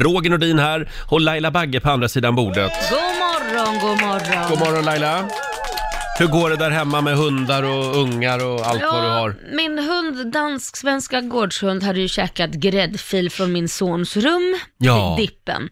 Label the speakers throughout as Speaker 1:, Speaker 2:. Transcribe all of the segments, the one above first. Speaker 1: Roger Nordin här och Laila Bagge på andra sidan bordet.
Speaker 2: God morgon, god morgon.
Speaker 1: God morgon Laila! Hur går det där hemma med hundar och ungar och allt vad du har?
Speaker 2: min hund, dansk-svenska gårdshund, hade ju käkat gräddfil från min sons rum
Speaker 1: Ja.
Speaker 2: i dippen.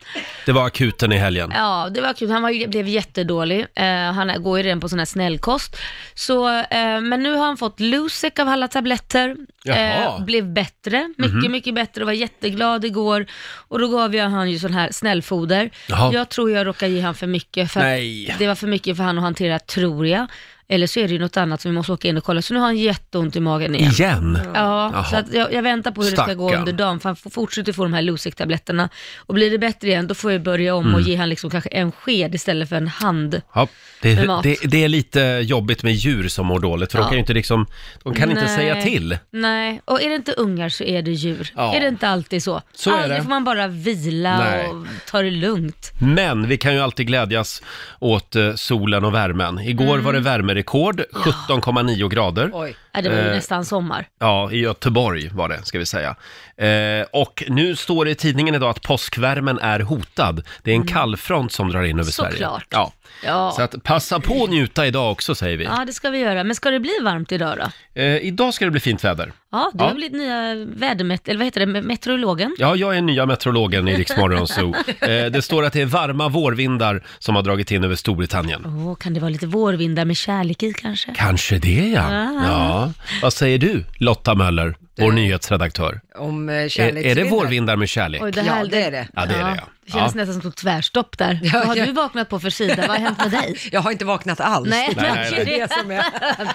Speaker 1: Det var akuten i helgen.
Speaker 2: Ja, det var kul. Han var, ju- blev jättedålig. Eh, han går ju redan på sån här snällkost. Så, eh, men nu har han fått Losec av alla tabletter. Eh,
Speaker 1: Jaha.
Speaker 2: blev bättre, mycket,
Speaker 1: Mhm.
Speaker 2: mycket bättre och var jätteglad igår. Och då gav jag han ju sån här snällfoder.
Speaker 1: Jaha.
Speaker 2: Jag tror jag råkade ge han för mycket. För att
Speaker 1: Nej.
Speaker 2: Det var för mycket för han att hantera, tror jag. Eller så är det ju något annat som vi måste åka in och kolla. Så nu har han jätteont i magen igen.
Speaker 1: Igen?
Speaker 2: Ja,
Speaker 1: Jaha.
Speaker 2: så att jag, jag väntar på hur det ska gå
Speaker 1: Stackarn.
Speaker 2: under dagen, för han får- fortsätter få de här Losec-tabletterna. Och blir det bättre igen, då får jag börja om och
Speaker 1: Mm.
Speaker 2: ge han liksom kanske en sked istället för en hand.
Speaker 1: Ja,
Speaker 2: Med
Speaker 1: det,
Speaker 2: mat.
Speaker 1: det, det är lite jobbigt med djur som mår dåligt för de
Speaker 2: Ja.
Speaker 1: kan ju inte liksom, de kan inte
Speaker 2: Nej.
Speaker 1: säga till.
Speaker 2: Nej, och är det inte ungar så är det djur.
Speaker 1: Ja.
Speaker 2: Är det inte alltid så?
Speaker 1: Så är
Speaker 2: Aldrig
Speaker 1: det.
Speaker 2: får man bara vila
Speaker 1: Nej.
Speaker 2: och ta det lugnt.
Speaker 1: Men vi kan ju alltid glädjas åt eh, solen och värmen. Igår
Speaker 2: Mm.
Speaker 1: var det värmerekord, 17,9 grader.
Speaker 2: Ja, det var ju
Speaker 1: Eh,
Speaker 2: nästan sommar.
Speaker 1: Ja, i Göteborg var det, ska vi säga. Eh, och nu står det i tidningen idag att påskvärmen är hotad. Det är en kallfront som drar in över
Speaker 2: Mm. Såklart.
Speaker 1: Sverige. Ja.
Speaker 2: Ja.
Speaker 1: Så att passa på att njuta idag också, säger vi.
Speaker 2: ja, det ska vi göra. Men ska det bli varmt idag då?
Speaker 1: Eh, idag ska det bli fint väder.
Speaker 2: Ja, du
Speaker 1: Ja.
Speaker 2: har blivit nya vädermet... eller vad heter det, Me- meteorologen?
Speaker 1: Ja, jag är nya meteorologen i Riksmorgon Zoo. Eh, det står att det är varma vårvindar som har dragit in över Storbritannien.
Speaker 2: Åh, kan det vara lite vårvindar med kärlek i kanske?
Speaker 1: Kanske det, ja.
Speaker 2: Ah.
Speaker 1: ja. Vad säger du, Lotta Möller, vår nyhetsredaktör?
Speaker 3: Om eh,
Speaker 1: Är,
Speaker 3: kärleksvindar.
Speaker 1: är det vårvindar med kärlek?
Speaker 2: Oj,
Speaker 3: Ja, det är det.
Speaker 1: Ja, det är det, ja.
Speaker 2: Det känns
Speaker 1: Ja.
Speaker 2: nästan som ett tvärstopp där. Vad har
Speaker 3: ja.
Speaker 2: du vaknat på för sida? Vad har hänt med dig?
Speaker 3: Jag har inte vaknat alls.
Speaker 2: Nej,
Speaker 1: Nej, nej, nej.
Speaker 2: det är det som är...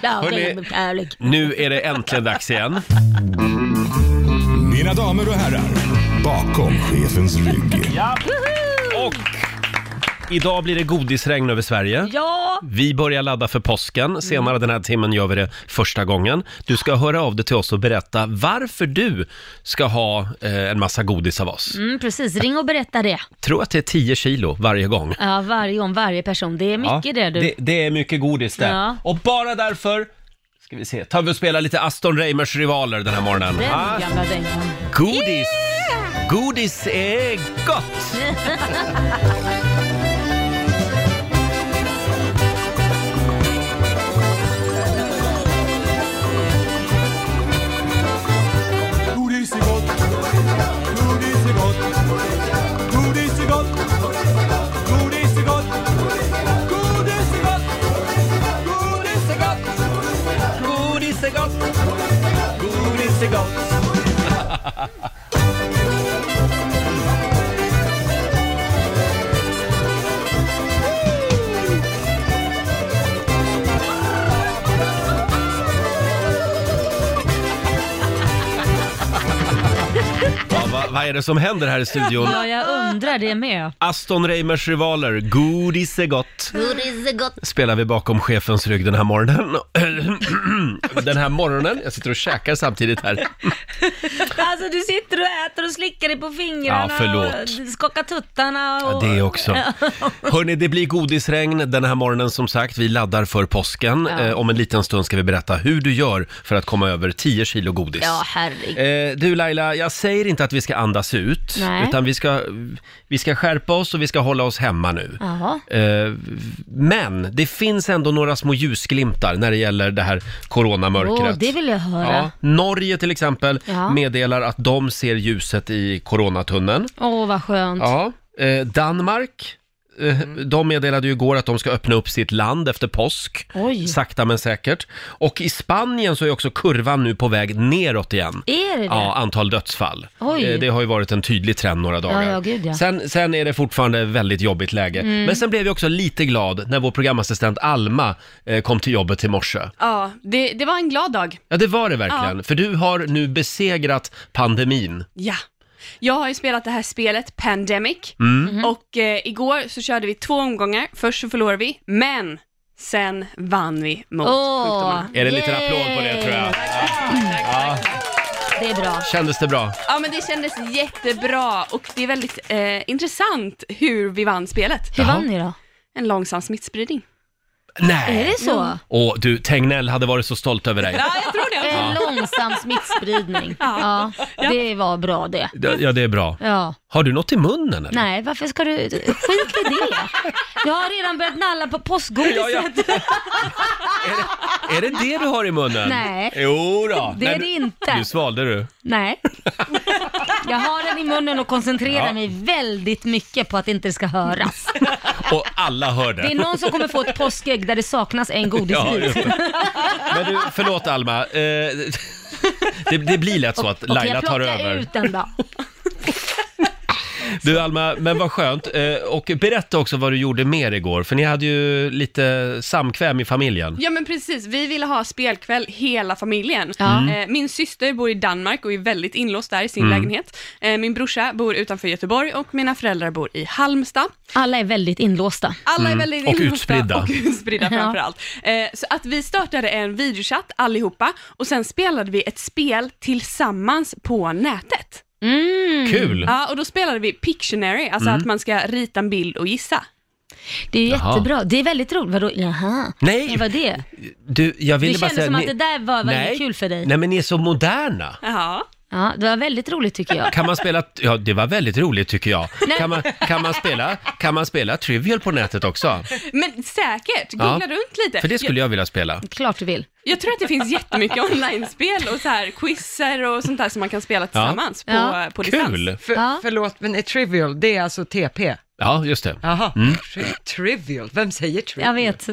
Speaker 2: Bra,
Speaker 1: Hörrni.
Speaker 2: med kärlek.
Speaker 1: Nu är det äntligen dags igen.
Speaker 4: Mina damer och herrar, bakom chefens rygg.
Speaker 1: Och idag blir det godisregn över Sverige.
Speaker 2: Ja,
Speaker 1: Vi börjar ladda för påsken. Senare den här timmen gör vi det första gången. Du ska höra av dig till oss och berätta varför du ska ha eh, en massa godis av oss.
Speaker 2: mm, precis. Ring och berätta det.
Speaker 1: Tror att det är 10 kilo varje gång.
Speaker 2: Ja, varje om varje person. Det är mycket
Speaker 1: Ja,
Speaker 2: det du.
Speaker 1: Det, det är mycket godis det.
Speaker 2: Ja.
Speaker 1: Och bara därför ska vi se, tar vi och spelar lite Aston Reimers rivaler den här morgonen.
Speaker 2: Den
Speaker 1: Ah,
Speaker 2: gamla dängan.
Speaker 1: godis! Godis eh. är gott!
Speaker 4: Godis är gott, godis är gott, godis är gott, godis är gott, godis är gott, godis är gott, godis är gott, godis är gott.
Speaker 1: Ja, vad, vad är det som händer här i studion?
Speaker 2: Ja, jag undrar det med.
Speaker 1: Aston Reimers rivaler, godis är gott.
Speaker 2: Godis är gott.
Speaker 1: Spelar vi bakom chefens rygg den här morgonen. den här morgonen, jag sitter och käkar samtidigt här.
Speaker 2: Alltså du sitter och äter och slickar dig på fingrarna
Speaker 1: Ja, förlåt.
Speaker 2: och skakar tuttarna
Speaker 1: Ja,
Speaker 2: och...
Speaker 1: det också. Hörni, det blir godisregn den här morgonen som sagt. Vi laddar för påsken.
Speaker 2: Ja.
Speaker 1: Eh, om en liten stund ska vi berätta hur du gör för att komma över 10 kilo godis.
Speaker 2: Ja, herregud.
Speaker 1: Eh, du Laila, jag säger inte att vi ska andas ut,
Speaker 2: Nej.
Speaker 1: utan vi ska, vi ska skärpa oss och vi ska hålla oss hemma nu.
Speaker 2: Jaha.
Speaker 1: Eh, Men det finns ändå några små ljusglimtar när det gäller det här
Speaker 2: Åh,
Speaker 1: coronamörkret.
Speaker 2: det vill jag höra.
Speaker 1: ja. Norge till exempel
Speaker 2: Ja.
Speaker 1: meddelar att de ser ljuset i coronatunneln.
Speaker 2: Åh, vad skönt.
Speaker 1: Ja. Eh, Danmark, eh,
Speaker 2: Mm.
Speaker 1: de meddelade ju igår att de ska öppna upp sitt land efter påsk.
Speaker 2: Oj.
Speaker 1: Sakta men säkert. Och i Spanien så är också kurvan nu på väg neråt igen.
Speaker 2: Är det det?
Speaker 1: Ja, antal dödsfall.
Speaker 2: Oj.
Speaker 1: Eh, Det har ju varit en tydlig trend några dagar.
Speaker 2: Ja, ja, gud, ja. Mm.
Speaker 1: Sen, sen är det fortfarande väldigt jobbigt läge. Men sen blev jag också lite glad när vår programassistent Alma eh, kom till jobbet i morse.
Speaker 5: Ja, det, det var en glad dag.
Speaker 1: Ja, det var det verkligen. För du har nu besegrat pandemin.
Speaker 5: Ja. Jag har ju spelat det här spelet Pandemic
Speaker 1: Mm.
Speaker 2: Mhm.
Speaker 5: och eh, igår så körde vi två omgångar. Först så förlorade vi, men sen vann vi mot
Speaker 2: Åh,
Speaker 5: sjukdomarna.
Speaker 1: Är det en liten
Speaker 2: yay.
Speaker 1: applåd på det tror jag?
Speaker 2: Det är bra.
Speaker 1: Kändes det bra?
Speaker 5: Ja, men det kändes jättebra och det är väldigt eh, intressant hur vi vann spelet.
Speaker 2: Hur
Speaker 1: Jaha.
Speaker 2: vann ni då?
Speaker 5: En långsam smittspridning.
Speaker 1: Nej!
Speaker 2: Är det så?
Speaker 1: Åh, du, Tegnell hade varit så stolt över dig.
Speaker 5: Ja, jag tror det.
Speaker 2: En gynnsam smittspridning. Ja,
Speaker 5: Ja.
Speaker 2: det var bra det.
Speaker 1: Ja, Ja, det är bra.
Speaker 2: Ja.
Speaker 1: Har du något i munnen eller?
Speaker 2: Nej, varför ska du... Skit i det. Jag har redan börjat nalla på påskgodiset.
Speaker 1: Ja, ja. Är det det du har i munnen?
Speaker 2: Nej.
Speaker 1: Jo då.
Speaker 2: Det är
Speaker 1: Nej,
Speaker 2: det
Speaker 1: du-
Speaker 2: inte.
Speaker 1: Du svalde du.
Speaker 2: Nej. Jag har den i munnen och koncentrerar
Speaker 1: Ja.
Speaker 2: mig väldigt mycket på att det inte ska höras.
Speaker 1: Och alla hörde.
Speaker 2: Det är någon som kommer få ett påskägg där det saknas en
Speaker 1: Ja,
Speaker 2: godisbit.
Speaker 1: just det. Men du, förlåt Alma. Eh, det, det blir lätt så att
Speaker 2: Okej,
Speaker 1: Laila tar
Speaker 2: Jag plockar
Speaker 1: över.
Speaker 2: ut den då.
Speaker 1: Du Alma, men vad skönt. Eh, och berätta också vad du gjorde mer igår, för ni hade ju lite samkväm i familjen.
Speaker 5: Ja men precis, vi ville ha spelkväll hela familjen.
Speaker 2: Ja. Mm.
Speaker 5: Eh, Min syster bor i Danmark och är väldigt inlåst där i
Speaker 1: Mm.
Speaker 5: sin lägenhet. Eh, Min brorsa bor utanför Göteborg och mina föräldrar bor i Halmstad.
Speaker 2: Alla är väldigt inlåsta.
Speaker 5: Alla är väldigt
Speaker 1: Mm. Och
Speaker 5: inlåsta
Speaker 1: utspridda.
Speaker 5: Och utspridda framförallt. Eh, Så att vi startade en videochatt allihopa och sen spelade vi ett spel tillsammans på nätet.
Speaker 2: Mm.
Speaker 1: Kul! Mm.
Speaker 5: Ja, och då spelade vi Pictionary, alltså att man ska rita en bild och gissa.
Speaker 2: Det är ju
Speaker 1: Jaha.
Speaker 2: jättebra. Det är väldigt roligt. Vadå, jaha?
Speaker 1: Nej.
Speaker 2: Vad var det?
Speaker 1: Du, jag ville
Speaker 2: Det
Speaker 1: bara
Speaker 2: kändes
Speaker 1: säga...
Speaker 2: som att
Speaker 1: ni-
Speaker 2: det där var väldigt kul för dig.
Speaker 1: Nej, men ni är så moderna.
Speaker 5: Jaha.
Speaker 2: Ja, det var väldigt roligt tycker jag.
Speaker 1: Kan man spela... Ja, det var väldigt roligt tycker jag.
Speaker 2: Nej.
Speaker 1: Kan man, kan, man spela, kan man spela Trivial på nätet också?
Speaker 5: Men säkert,
Speaker 1: Ja.
Speaker 5: googla runt lite.
Speaker 1: För det skulle jag vilja spela.
Speaker 2: Klart du vill.
Speaker 5: Jag tror att det finns jättemycket online-spel och så här quizzer och sånt där som man kan spela tillsammans
Speaker 2: Ja.
Speaker 5: på,
Speaker 2: Ja.
Speaker 5: på distans.
Speaker 1: Kul!
Speaker 3: För,
Speaker 2: Ja.
Speaker 3: Förlåt, men är trivial, det är alltså TP?
Speaker 1: Ja, just det. Mm.
Speaker 3: Jaha, Tri- trivial, vem säger trivial?
Speaker 2: Jag vet.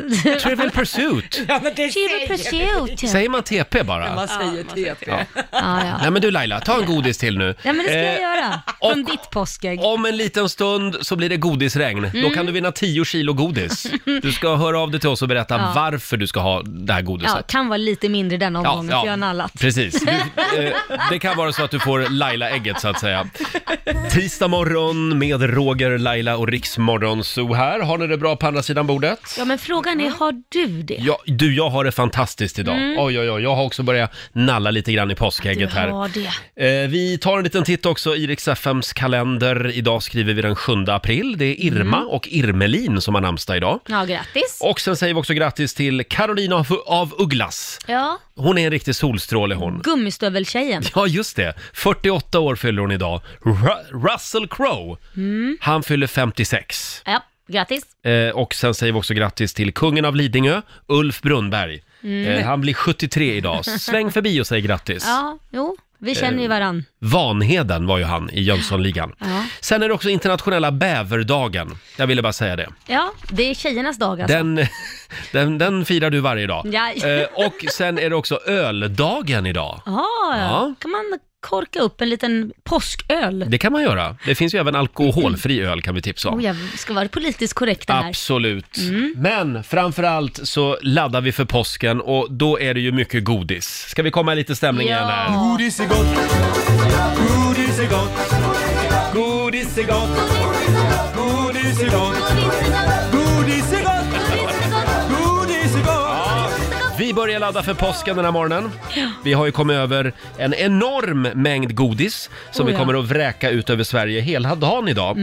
Speaker 1: Trivial Pursuit.
Speaker 3: Ja, men det
Speaker 2: Trivial
Speaker 3: säger
Speaker 2: pursuit.
Speaker 1: Säger man TP bara?
Speaker 3: man säger TP.
Speaker 2: Ja, ja.
Speaker 1: Nej men du Laila, ta en godis till nu.
Speaker 2: Ja, men det ska
Speaker 1: Eh,
Speaker 2: jag göra.
Speaker 1: och-
Speaker 2: Från ditt påskägg.
Speaker 1: Om en liten stund så blir det godisregn. Då
Speaker 2: Mm.
Speaker 1: kan du vinna 10 kilo godis. Du ska höra av dig till oss och berätta varför du ska ha det här
Speaker 2: Ja,
Speaker 1: godiset.
Speaker 2: kan vara lite mindre den omgången, för jag har nallat.
Speaker 1: Precis. Du, eh, det kan vara så att du får Laila-ägget så att säga. Tisdag morgon med Roger, Laila och Riksmorgon så här. Har ni det bra på andra sidan bordet?
Speaker 2: Ja, men frågan är, har du det?
Speaker 1: Ja, du, jag har det fantastiskt idag. Oj, oj, oj. Jag har också börjat nalla lite grann i
Speaker 2: Mm. du
Speaker 1: påskägget här.
Speaker 2: har det.
Speaker 1: Eh, vi tar en liten titt också i Rix FMs kalender. Idag skriver vi den 7 april. Det är Irma
Speaker 2: Mm.
Speaker 1: och Irmelin som har namnsdag idag.
Speaker 2: Ja, grattis.
Speaker 1: Och sen säger vi också grattis till Carolina av, av Ugglas.
Speaker 2: Ja,
Speaker 1: Hon är en riktig solstråle hon.
Speaker 2: gummistöveltjejen.
Speaker 1: Ja, just det. 48 år fyller hon idag. Ru- Russell Crowe, han fyller 56.
Speaker 2: Mm. Ja, grattis.
Speaker 1: Eh, och sen säger vi också grattis till kungen av Lidingö, Ulf Brunnberg. Eh, han blir 73 idag. Sväng förbi och säg grattis.
Speaker 2: Mm.
Speaker 1: Eh.
Speaker 2: Ja, jo, vi känner ju varann.
Speaker 1: Vanheden var ju han i Jönssonligan.
Speaker 2: Ja.
Speaker 1: Sen är det också internationella bäverdagen. Jag ville bara säga det.
Speaker 2: Ja, det är tjejernas dag alltså.
Speaker 1: Den, den, den firar du varje dag.
Speaker 2: Ja.
Speaker 1: Eh, och sen är det också öldagen idag.
Speaker 2: Jaha,
Speaker 1: Ja.
Speaker 2: ja. kan man korka upp en liten påsköl.
Speaker 1: Det kan man göra. Det finns ju även alkoholfri öl kan vi tipsa om.
Speaker 2: Oh, jag ska vara politiskt korrekt här. Mm.
Speaker 1: Absolut. Men framför allt så laddar vi för påsken och då är det ju mycket godis. Ska vi komma i lite stämning igen här?
Speaker 2: Ja.
Speaker 4: Godis är gott, godis är gott, godis är gott, godis är gott, godis är gott, godis är gott.
Speaker 1: Vi börjar ladda för påsken den här morgonen. Vi har ju kommit över en enorm mängd godis som
Speaker 2: Oh,
Speaker 1: vi
Speaker 2: ja. Mm.
Speaker 1: kommer att vräka ut över Sverige hela dagen idag.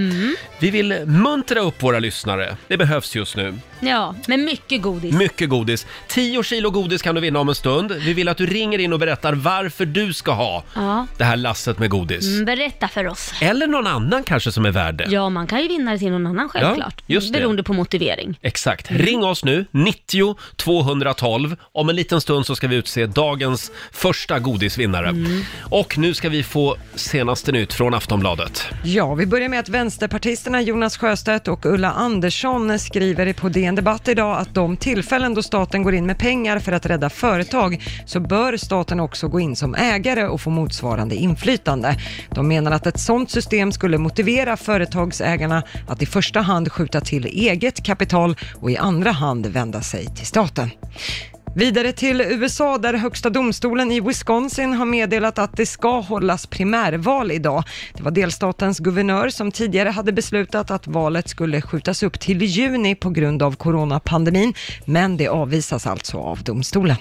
Speaker 1: Vi vill muntra upp våra lyssnare. Det behövs just nu.
Speaker 2: Ja, men mycket godis.
Speaker 1: Mycket godis. 10 kilo godis kan du vinna om en stund. Vi vill att du ringer in och berättar varför du ska ha
Speaker 2: Ja.
Speaker 1: det här lasset med godis.
Speaker 2: Mm, Berätta för oss.
Speaker 1: Eller någon annan kanske som är värd det.
Speaker 2: Ja, man kan ju vinna det till någon annan självklart.
Speaker 1: just det.
Speaker 2: Beroende på motivering.
Speaker 1: Exakt. Ring oss nu, 90 212. Om en liten stund så ska vi utse dagens första godisvinnare. Och nu ska vi få senaste nytt från Aftonbladet.
Speaker 3: Ja, vi börjar med att vänsterpartisterna Jonas Sjöstedt och Ulla Andersson skriver på DN Debatt idag att de tillfällen då staten går in med pengar för att rädda företag så bör staten också gå in som ägare och få motsvarande inflytande. De menar att ett sådant system skulle motivera företagsägarna att i första hand skjuta till eget kapital och i andra hand vända sig till staten. Vidare till USA där högsta domstolen i Wisconsin har meddelat att det ska hållas primärval idag. Det var delstatens guvernör som tidigare hade beslutat att valet skulle skjutas upp till juni på grund av coronapandemin, men det avvisas alltså av domstolen.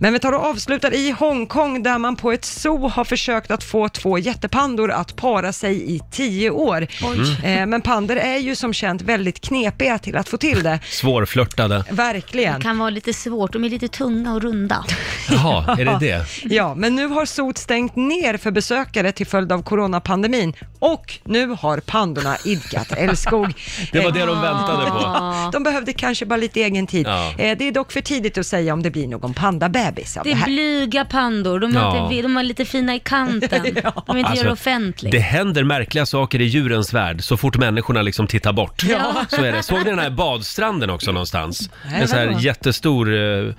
Speaker 3: Men vi tar och avslutar i Hongkong där man på ett zoo har försökt att få två jättepandor att para sig i tio år. Eh, Men pandor är ju som känt väldigt knepiga till att få till det.
Speaker 1: Svårflörtade.
Speaker 3: Verkligen.
Speaker 2: kan vara lite svårt, de är lite tunga och runda.
Speaker 1: Jaha, är det det?
Speaker 3: Ja, men nu har Sot stängt ner för besökare till följd av coronapandemin och nu har pandorna idkat älskog.
Speaker 1: Det var
Speaker 3: Eh,
Speaker 1: det de väntade på.
Speaker 2: Ah.
Speaker 3: De behövde kanske bara lite egen tid.
Speaker 1: Ja.
Speaker 3: Eh, Det är dock för tidigt att säga om det blir någon pandabebis av det,
Speaker 2: Det är
Speaker 3: här.
Speaker 2: blyga pandor, de är,
Speaker 1: Ja. Alltså,
Speaker 2: inte, de är lite fina i kanten. De vill inte göra det offentligt.
Speaker 1: det händer märkliga saker i djurens värld så fort människorna liksom tittar bort.
Speaker 2: Ja.
Speaker 1: Så är det. Såg ni den här badstranden också någonstans?
Speaker 3: Nej,
Speaker 1: en sån här
Speaker 3: vadå?
Speaker 1: jättestor eh,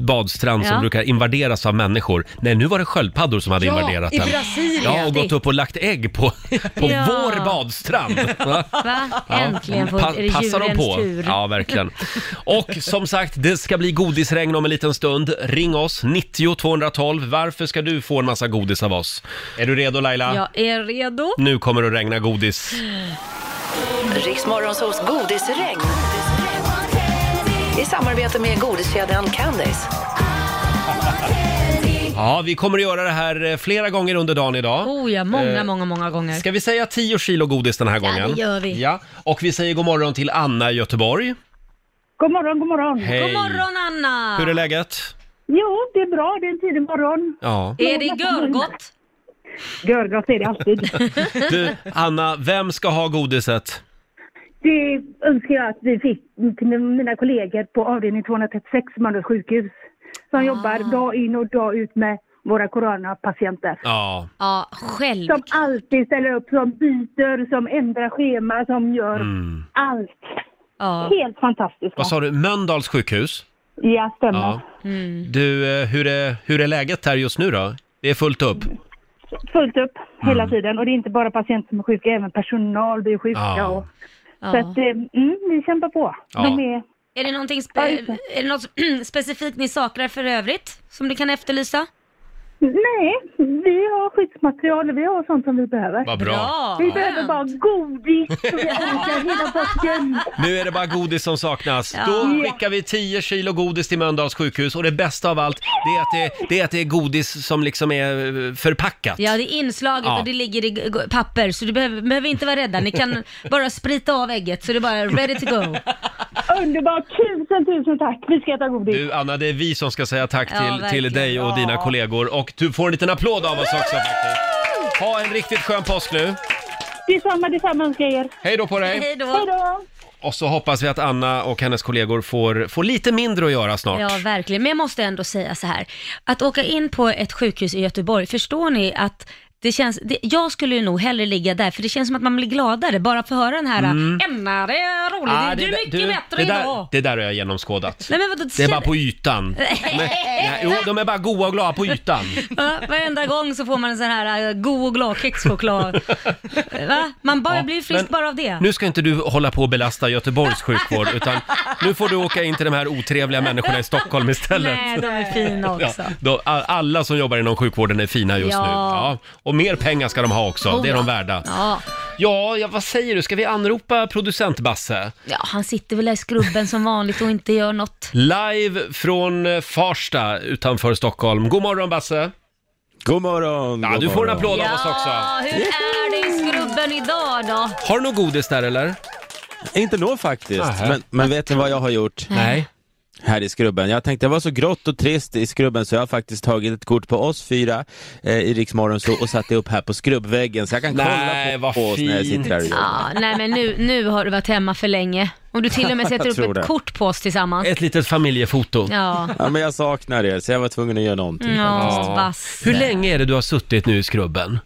Speaker 1: badstrand som
Speaker 2: Ja.
Speaker 1: brukar invaderas av människor. Nej, nu var det sköldpaddor som hade
Speaker 3: Ja,
Speaker 1: invaderat
Speaker 3: i
Speaker 1: den.
Speaker 3: Brasilien.
Speaker 1: Ja, och gått upp och lagt ägg på, på
Speaker 2: Ja.
Speaker 1: vår badstrand. Va?
Speaker 2: Va?
Speaker 1: Ja. Mm.
Speaker 2: Äntligen får
Speaker 1: Pa-
Speaker 2: är det
Speaker 1: passar de
Speaker 2: djurens
Speaker 1: på?
Speaker 2: tur.
Speaker 1: Ja, verkligen. Och som sagt, det ska bli godisregn om en liten stund. Ring oss, 90 212. Varför ska du få en massa godis av oss? Är du redo Laila?
Speaker 2: Jag är redo.
Speaker 1: Nu kommer det att regna godis.
Speaker 6: Riksmorgonsols godisregn. I samarbete med godiskedjan Candice.
Speaker 1: Ja, vi kommer att göra det här eh, flera gånger under dagen idag.
Speaker 2: Oh ja, många, många, många gånger.
Speaker 1: Eh, Ska vi säga 10 kilo godis den här gången?
Speaker 2: det gör vi.
Speaker 1: Ja, och vi säger god morgon till Anna i Göteborg.
Speaker 7: God morgon, god morgon.
Speaker 1: Hej!
Speaker 2: God morgon Anna!
Speaker 1: Hur är läget?
Speaker 7: Jo, det är bra. Det är en tidig morgon.
Speaker 1: Ja.
Speaker 2: Är det görgott?
Speaker 7: Görgott är det alltid.
Speaker 1: Du, Anna, vem ska ha godiset?
Speaker 7: Det önskar jag att vi fick till mina kollegor på avdelning 236 Mölndals sjukhus
Speaker 2: Ah.
Speaker 7: som jobbar dag in och dag ut med våra coronapatienter.
Speaker 1: Ja,
Speaker 2: Ja, själv.
Speaker 7: Som alltid ställer upp, som byter, som ändrar schema, som gör allt.
Speaker 2: Ja.
Speaker 7: Helt fantastiskt.
Speaker 1: Mm. vad sa du? Mölndals sjukhus?
Speaker 7: Ja, stämmer.
Speaker 1: Ja.
Speaker 2: Mm.
Speaker 1: Du, eh, hur är, hur är läget här just nu då? Det är fullt upp?
Speaker 7: Fullt upp hela
Speaker 1: Mm.
Speaker 7: tiden. Och det är inte bara patienter som är sjuka, även personal blir sjuka.
Speaker 1: Ja.
Speaker 7: Och, Så
Speaker 2: Ja.
Speaker 7: att, eh, mm, vi kämpar på.
Speaker 1: Ja.
Speaker 7: De är
Speaker 2: Är det, någonting spe- är det något specifikt ni saknar för övrigt som du kan efterlysa?
Speaker 7: Nej, vi har skyddsmaterial och vi har sånt som vi behöver.
Speaker 1: Vad bra.
Speaker 7: Vi behöver bara godis så vi orkar hela påsken.
Speaker 1: Nu är det bara godis som saknas.
Speaker 2: Ja.
Speaker 1: Då skickar vi 10 kilo godis till Mölndals sjukhus och det bästa av allt det är att det, det, är, att det är godis som liksom är eh, förpackat.
Speaker 2: Ja, det är inslaget
Speaker 1: Ja.
Speaker 2: och det ligger i g- g- papper så du behöver, behöver inte vara rädda. Ni kan bara sprita av ägget så det är bara ready to go.
Speaker 7: Underbart! Tusen, tusen tack! Vi ska äta godis.
Speaker 1: Du Anna, det är vi som ska säga tack
Speaker 2: Ja,
Speaker 1: till, till
Speaker 2: verkligen.
Speaker 1: dig och dina kollegor och du får en liten applåd av oss också faktiskt. Ha en riktigt skön påsk nu.
Speaker 7: Detsamma, detsamma önskar jag er.
Speaker 1: Hej då på dig!
Speaker 2: Hej
Speaker 7: Hej
Speaker 2: då!
Speaker 7: då!
Speaker 1: Och så hoppas vi att Anna och hennes kollegor får, får lite mindre att göra snart.
Speaker 2: Ja, verkligen. Men jag måste ändå säga så här. Att åka in på ett sjukhus i Göteborg, förstår ni att det känns, det, jag skulle ju nog hellre ligga där, för det känns som att man blir gladare bara för att höra den här “Emma, det är roligt,
Speaker 1: Mm. Ah,
Speaker 2: du är
Speaker 1: där-
Speaker 2: mycket
Speaker 1: du,
Speaker 2: bättre
Speaker 1: det där,
Speaker 2: idag”.
Speaker 1: Det där har jag genomskådat.
Speaker 2: Nej men vadå,
Speaker 1: Det är
Speaker 2: känn-
Speaker 1: bara på ytan. De är, nej, jo, de är bara goa och glada på ytan.
Speaker 2: Ja, varenda gång så får man en sån här eh, god och glad kexchoklad. Va? Man bara blir frisk
Speaker 1: men-
Speaker 2: bara av det.
Speaker 1: Nu ska inte du hålla på och belasta Göteborgs sjukvård, utan nu får du åka in till de här otrevliga människorna i Stockholm istället.
Speaker 2: Nej, de är fina
Speaker 1: Ja,
Speaker 2: också.
Speaker 1: då, a- alla som jobbar inom sjukvården är fina just
Speaker 2: Ja. Oh
Speaker 1: nu. Ja. Och mer pengar ska de ha också, det är de värda.
Speaker 2: Ja.
Speaker 1: Ja, ja, vad säger du? Ska vi anropa producent Basse?
Speaker 2: ja, han sitter väl där i skrubben som vanligt och inte gör något.
Speaker 1: Live från eh, Farsta utanför Stockholm. God morgon Basse!
Speaker 8: God morgon!
Speaker 1: Ja,
Speaker 8: god
Speaker 1: du får en
Speaker 8: morgon.
Speaker 1: applåd av oss också.
Speaker 2: Ja, hur är det i skrubben idag då?
Speaker 1: Har du något godis där eller?
Speaker 8: Inte nå faktiskt,
Speaker 1: Nähä.
Speaker 8: men, men vet ni vad jag har gjort
Speaker 1: Nej.
Speaker 8: här i Skrubben? Jag tänkte det var så grått och trist i Skrubben så jag har faktiskt tagit ett kort på oss fyra eh, i Rix Morgon Zoo och satt det upp här på skrubbväggen så jag kan
Speaker 1: Nej,
Speaker 8: kolla
Speaker 1: vad
Speaker 8: på, på oss när jag
Speaker 1: fint.
Speaker 8: sitter här och jobbar.
Speaker 2: Ja, nej men nu, nu har du varit hemma för länge. Om du till och med sätter
Speaker 8: Jag tror
Speaker 2: upp ett
Speaker 8: det.
Speaker 2: kort på oss tillsammans.
Speaker 1: Ett litet familjefoto.
Speaker 2: Ja,
Speaker 8: Ja, men jag saknar er så jag var tvungen att göra någonting.
Speaker 2: ja, vass.
Speaker 1: Hur länge är det du har suttit nu i skrubben?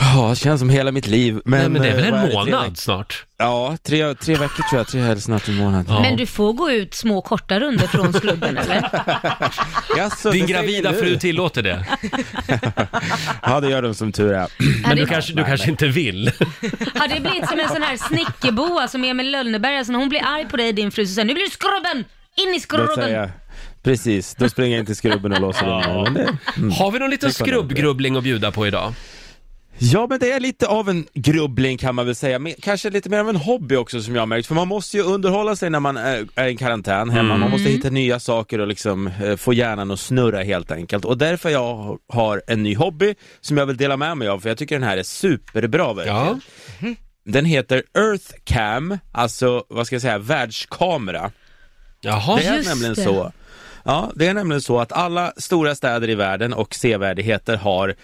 Speaker 8: Ja, det känns som hela mitt liv. Men,
Speaker 1: Nej, men det är väl
Speaker 8: eh, vad
Speaker 1: en
Speaker 8: tre
Speaker 1: månad
Speaker 8: veck-
Speaker 1: snart?
Speaker 8: Ja, tre, tre veckor tror jag, tre eller snart en månad. Ja.
Speaker 2: Men du får gå ut små korta runder från skrubben eller?
Speaker 8: Jaså,
Speaker 1: Din
Speaker 8: det säger
Speaker 1: gravida
Speaker 8: ni nu?
Speaker 1: fru tillåter det,
Speaker 8: Ja, det gör de som tur är.
Speaker 2: Ja,
Speaker 1: men
Speaker 2: det-
Speaker 1: du kanske, du kanske inte vill?
Speaker 2: Har det blivit som en sån här snickerboa som Emil Lönneberga, så när hon blir arg på dig din fru så säger nu blir du skrubben! In
Speaker 8: Då
Speaker 2: i
Speaker 8: säger
Speaker 2: skrubben!
Speaker 8: jag, precis, då springer jag in till skrubben och låser den. Men det-
Speaker 1: Har vi någon liten
Speaker 8: Det kan jag inte.
Speaker 1: skrubbgrubbling att bjuda på idag?
Speaker 8: Ja, men det är lite av en grubbling kan man väl säga, men kanske lite mer av en hobby också som jag har märkt, för man måste ju underhålla sig när man är är i karantän hemma, man måste hitta nya saker och liksom eh, få hjärnan att snurra helt enkelt. Och därför jag har en ny hobby som jag vill dela med mig av, för jag tycker den här är superbra verkligen.
Speaker 1: Ja.
Speaker 8: Den heter Earthcam, alltså vad ska jag säga, världskamera.
Speaker 1: Jaha.
Speaker 8: Det är
Speaker 2: Just
Speaker 8: nämligen
Speaker 2: det.
Speaker 8: så. Ja, det är nämligen så att alla stora städer i världen och sevärdheter har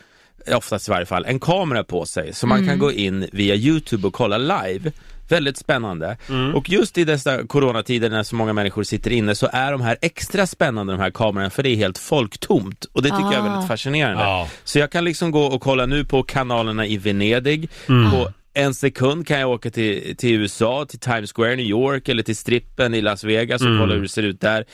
Speaker 8: oftast i varje fall en kamera på sig så man kan gå in via Youtube och kolla live. Väldigt spännande. Och just i dessa coronatider när så många människor sitter inne så är de här extra spännande de här kamerorna för det är helt folktomt och det tycker jag är väldigt fascinerande.
Speaker 1: Ja.
Speaker 8: Så jag kan liksom gå och kolla nu på kanalerna i Venedig. På en sekund kan jag åka till, till USA, till Times Square i New York eller till strippen i Las Vegas och Alltså,
Speaker 1: Mm.
Speaker 8: kolla hur det ser ut där.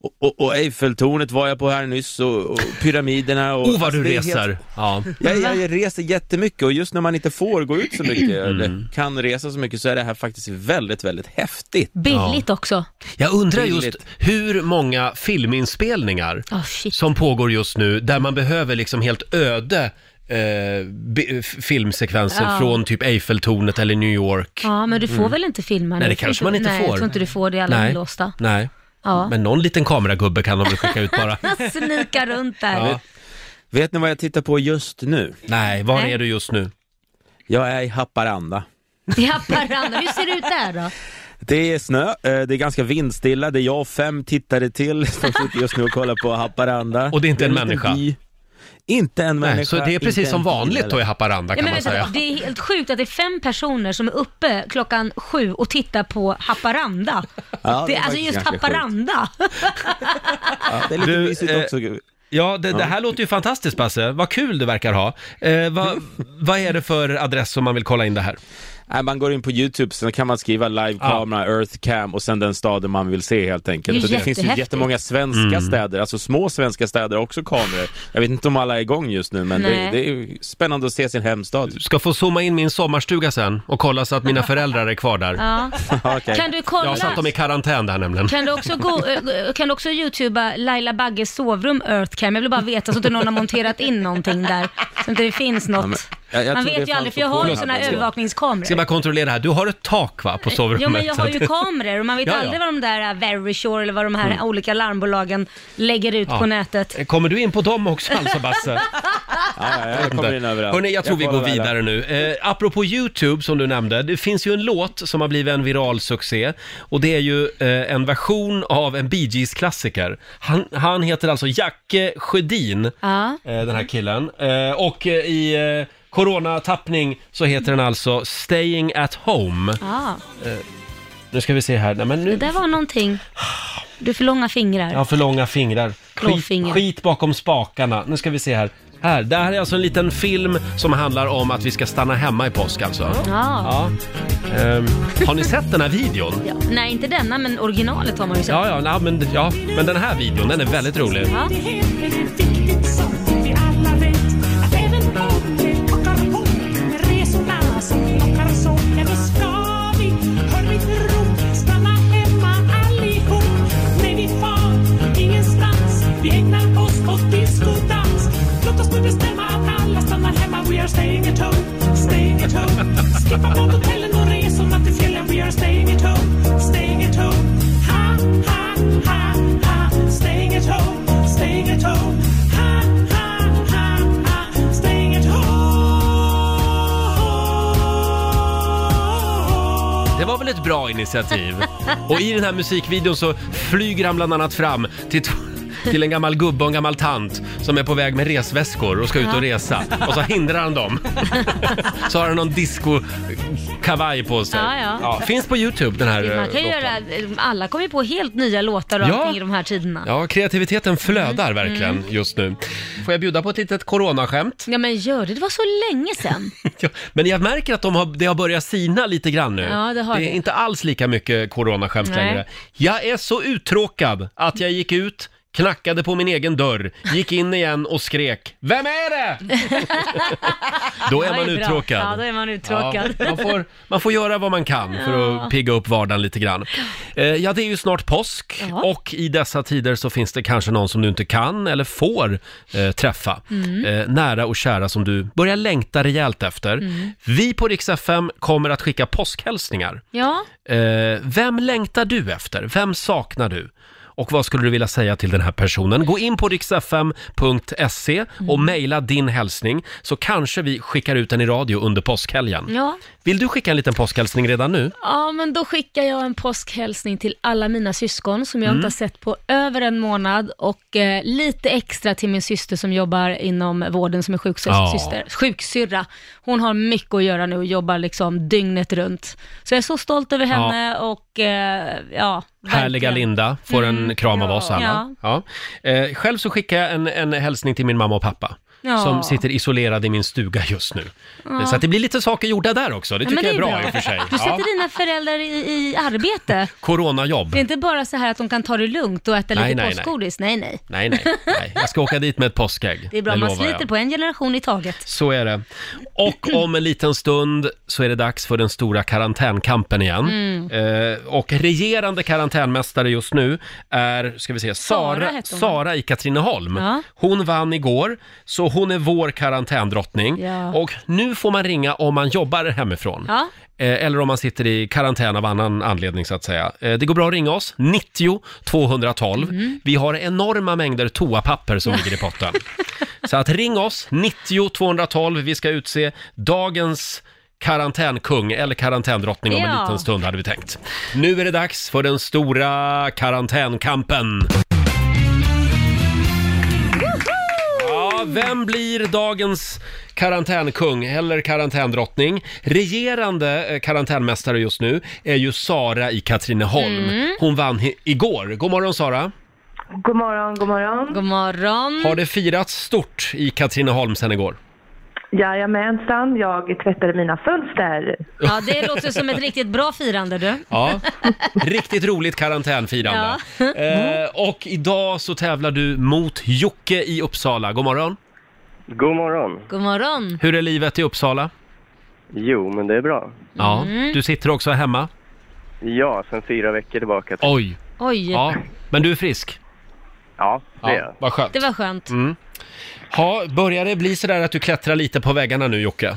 Speaker 8: Och, och, och Eiffeltornet var jag på här nyss och, och pyramiderna och...
Speaker 1: Oh, vad du
Speaker 8: Alltså, det är helt-
Speaker 1: reser. Ja.
Speaker 8: jag, jag reser jättemycket och just när man inte får gå ut så mycket
Speaker 1: Mm.
Speaker 8: eller kan resa så mycket så är det här faktiskt väldigt, väldigt häftigt.
Speaker 2: Billigt också.
Speaker 1: Jag undrar just
Speaker 8: Billigt.
Speaker 1: hur många filminspelningar
Speaker 2: Oh, shit.
Speaker 1: som pågår just nu där man behöver liksom helt öde eh, bi- f- filmsekvenser
Speaker 2: Ja.
Speaker 1: från typ Eiffeltornet eller New York.
Speaker 2: Ja, men du får
Speaker 8: Mm.
Speaker 2: väl inte filma nu?
Speaker 1: Nej, det
Speaker 2: Jag tror
Speaker 1: kanske man inte
Speaker 2: nej,
Speaker 1: får.
Speaker 2: Jag tror inte du får det, alla är låsta.
Speaker 1: Nej.
Speaker 2: Ja.
Speaker 1: Men någon liten kameragubbe kan de väl skicka ut bara.
Speaker 2: Snika runt där.
Speaker 1: Ja.
Speaker 8: Vet ni vad jag tittar på just nu?
Speaker 1: Nej, var
Speaker 2: Nej.
Speaker 1: är du just nu?
Speaker 8: Jag är i Haparanda.
Speaker 2: I Haparanda, hur ser det ut där då?
Speaker 8: Det är snö, eh, det är ganska vindstilla, det är jag och fem tittare till som sitter just nu och kollar på Haparanda.
Speaker 1: Och det är inte en
Speaker 8: liten
Speaker 1: människa?
Speaker 8: by. Inte en människa.
Speaker 1: Nej, så det är precis
Speaker 8: inte
Speaker 1: som
Speaker 8: en bil
Speaker 1: vanligt då i
Speaker 8: heller.
Speaker 1: Haparanda
Speaker 2: Ja,
Speaker 1: kan
Speaker 2: men
Speaker 1: man säga.
Speaker 2: vänta, det är helt sjukt att det är fem personer som är uppe klockan sju och tittar på Haparanda.
Speaker 8: Ja,
Speaker 2: det är
Speaker 8: var
Speaker 2: alltså just
Speaker 8: ganska sjukt.
Speaker 2: Haparanda.
Speaker 8: Ja, det är lite
Speaker 1: Du,
Speaker 8: mysigt
Speaker 1: eh,
Speaker 8: också.
Speaker 1: Ja, det, det här låter ju fantastiskt Basse. Vad kul det verkar ha. Eh, vad, vad är det för adress som man vill kolla in det här?
Speaker 8: Nej, man går in på YouTube, sen kan man skriva live kamera, earth cam och sen den staden man vill se helt
Speaker 2: Det är
Speaker 8: enkelt. Och det finns ju
Speaker 2: jättehäftigt.
Speaker 8: jättemånga svenska
Speaker 1: Mm.
Speaker 8: städer, alltså små svenska städer har också kameror. Jag vet inte om alla är igång just nu, men det,
Speaker 2: Nej.
Speaker 8: det är ju spännande att se sin hemstad.
Speaker 1: Ska få zooma in min sommarstuga sen och kolla så att mina föräldrar är kvar där.
Speaker 2: Ja.
Speaker 8: Okej.
Speaker 2: Kan du
Speaker 1: Jag har satt dem
Speaker 2: kolla?
Speaker 1: i karantän där nämligen.
Speaker 2: Kan du, också gå, eh, kan du också youtuba Laila Bagges sovrum Earthcam? Jag vill bara veta så att inte någon har monterat in någonting där. Så inte det finns något.
Speaker 8: jag- jag
Speaker 2: Man
Speaker 8: tror det
Speaker 2: vet ju
Speaker 8: fanns
Speaker 2: aldrig, för
Speaker 8: på
Speaker 2: jag har ju
Speaker 8: Pornhub
Speaker 2: sådana
Speaker 8: ändå.
Speaker 1: Ska
Speaker 2: övervakningskameror.
Speaker 1: bara kontrollera här. Du har ett tak va, på sovrummet?
Speaker 2: Ja, Eh, men jag har ju
Speaker 1: Så att-
Speaker 2: kameror och man vet
Speaker 1: Ja, ja.
Speaker 2: aldrig vad de där eh, Verisure eller vad de här olika larmbolagen lägger ut
Speaker 1: Ja.
Speaker 2: på nätet.
Speaker 1: Kommer du in på dem också alltså Basse?
Speaker 8: Ja, ja, jag kommer in överallt.
Speaker 1: Hörni, jag tror vi går
Speaker 8: kollar där.
Speaker 1: vidare nu. Eh, apropå YouTube som du nämnde, det finns ju en låt som har blivit en viral succé och det är ju eh, en version av en Bee Gees-klassiker. Han, han heter alltså Jacke Sjödin,
Speaker 2: Ja.
Speaker 1: eh, den här killen. Eh, och eh, i eh, coronatappning så heter den alltså Staying at Home. Eh,
Speaker 2: Ja,
Speaker 1: Nu ska vi se här, nej men
Speaker 2: det
Speaker 1: nu...
Speaker 2: där var någonting. Du har för långa fingrar.
Speaker 1: Jag har för långa fingrar. Skit,
Speaker 2: Klåfingrar.
Speaker 1: skit bakom spakarna. Nu ska vi se här. Här, det här är alltså en liten film som handlar om att vi ska stanna hemma i påsk alltså.
Speaker 2: Ja.
Speaker 1: Ja. Ehm, har ni sett den här videon?
Speaker 2: Ja. Nej, inte denna, men originalet har man ju sett.
Speaker 1: Ja, ja, na, men, ja, men den här videon, den är väldigt rolig.
Speaker 2: Ja.
Speaker 1: Det var väl ett bra initiativ? Och i den här musikvideon så flyger han bland annat fram till, t- till en gammal gubbe och en gammal tant som är på väg med resväskor och ska ut och resa. Och så hindrar han dem. Så har han någon disco-kavaj på sig.
Speaker 2: Ja, ja.
Speaker 1: finns på Youtube den här eh,
Speaker 2: Man kan ju
Speaker 1: låten.
Speaker 2: göra, alla kommer ju på helt nya låtar och
Speaker 1: Ja.
Speaker 2: allting i de här tiderna. Ja.
Speaker 1: Ja, kreativiteten
Speaker 2: Mm,
Speaker 1: flödar verkligen just nu. Får jag bjuda på ett litet coronaskämt?
Speaker 2: men gör det, det var så länge sedan.
Speaker 1: Ja, men jag märker att de har, det har börjat sina lite grann nu.
Speaker 2: Ja, det har
Speaker 1: är
Speaker 2: det.
Speaker 1: inte alls lika mycket coronaskämt
Speaker 2: Nej.
Speaker 1: längre. Jag är så uttråkad att jag gick ut, knackade på min egen dörr, gick in igen och skrek Vem är det? Då är
Speaker 2: Ja,
Speaker 1: man
Speaker 2: det är bra.
Speaker 1: uttråkad.
Speaker 2: Ja, då är man uttråkad.
Speaker 1: Ja, man, får, man får göra vad man kan för att pigga upp vardagen lite grann. Eh, ja, det är ju snart påsk
Speaker 2: Ja.
Speaker 1: och i dessa tider så finns det kanske någon som du inte kan eller får eh, träffa.
Speaker 2: Mm.
Speaker 1: Eh, nära och kära som du börjar längta rejält efter. Vi på Rix FM kommer att skicka påskhälsningar.
Speaker 2: Ja,
Speaker 1: Eh, vem längtar du efter? Vem saknar du? Och vad skulle du vilja säga till den här personen? Gå in på riksfm.se och mejla din hälsning så kanske vi skickar ut den i radio under påskhelgen.
Speaker 2: ja.
Speaker 1: Vill du skicka en liten påskhälsning redan nu?
Speaker 2: Ja, men då skickar jag en påskhälsning till alla mina syskon som
Speaker 1: Mm.
Speaker 2: jag inte har sett på över en månad och eh, lite extra till min syster som jobbar inom vården som är
Speaker 1: Ja.
Speaker 2: sjuksyster, sjuksyrra. Hon har mycket att göra nu och jobbar liksom dygnet runt. Så jag är så stolt över henne och eh, ja,
Speaker 1: Härliga
Speaker 2: verkligen. Mm.
Speaker 1: Linda får en kram av oss alla. Ja. Eh, själv så skickar jag en, en hälsning till min mamma och pappa.
Speaker 2: Ja.
Speaker 1: Som sitter isolerade i min stuga just nu. Så att det blir lite saker gjorda där också. Det
Speaker 2: Ja, men
Speaker 1: tycker jag är bra, i och för sig.
Speaker 2: Du
Speaker 1: Ja.
Speaker 2: sätter dina föräldrar i, i arbete.
Speaker 1: Coronajobb.
Speaker 2: Det är inte bara så här att de kan ta det lugnt och äta
Speaker 1: Nej,
Speaker 2: lite
Speaker 1: nej, nej.
Speaker 2: påskgodis. Nej, nej.
Speaker 1: Nej, nej, nej. Jag ska åka dit med ett påskägg.
Speaker 2: Det är bra, man
Speaker 1: lovar jag.
Speaker 2: sliter på en generation i taget.
Speaker 1: Så är det. Och om en liten stund så är det dags för den stora karantänkampen igen.
Speaker 2: Mm.
Speaker 1: Eh, och regerande karantänmästare just nu är, ska vi se,
Speaker 2: Sara
Speaker 1: Sara,
Speaker 2: hette hon.
Speaker 1: Sara i Katrineholm.
Speaker 2: Ja.
Speaker 1: Hon vann igår, så hon är vår karantändrottning.
Speaker 2: Ja.
Speaker 1: Och nu får man ringa om man jobbar hemifrån.
Speaker 2: Ja.
Speaker 1: Eh, Eller om man sitter i karantän av annan anledning så att säga. Eh, Det går bra att ringa oss, 90 212.
Speaker 2: Mm.
Speaker 1: Vi har enorma mängder toapapper som ligger i potten. Så att ring oss, 90 212. Vi ska utse dagens karantänkung eller karantändrottning om en
Speaker 2: Ja.
Speaker 1: liten stund hade vi tänkt. Nu är det dags för den stora karantänkampen. Ja, vem blir dagens karantänkung eller karantändrottning? Regerande eh, karantänmästare just nu är ju Sara i Katrineholm. Hon vann i- igår. God morgon Sara!
Speaker 9: God morgon, god morgon.
Speaker 2: God morgon.
Speaker 1: Har det firats stort i Katrineholm sen igår?
Speaker 9: Jajamensan, jag tvättade mina fönster.
Speaker 2: Ja, det låter som ett riktigt bra firande du.
Speaker 1: Ja, riktigt roligt karantänfirande. Eh, och idag så tävlar du mot Jocke i Uppsala. God morgon!
Speaker 10: God morgon.
Speaker 2: God morgon.
Speaker 1: Hur är livet i Uppsala?
Speaker 10: Jo, men det är bra.
Speaker 1: Ja,
Speaker 2: Mm.
Speaker 1: du sitter också hemma?
Speaker 10: Ja, sen fyra veckor tillbaka.
Speaker 1: Oj!
Speaker 2: Oj,
Speaker 1: Ja, men du är frisk?
Speaker 10: Ja, det är jag.
Speaker 1: vad skönt. Mm.
Speaker 2: det var skönt.
Speaker 1: Ja, börjar det bli sådär att du klättrar lite på väggarna nu Jocke?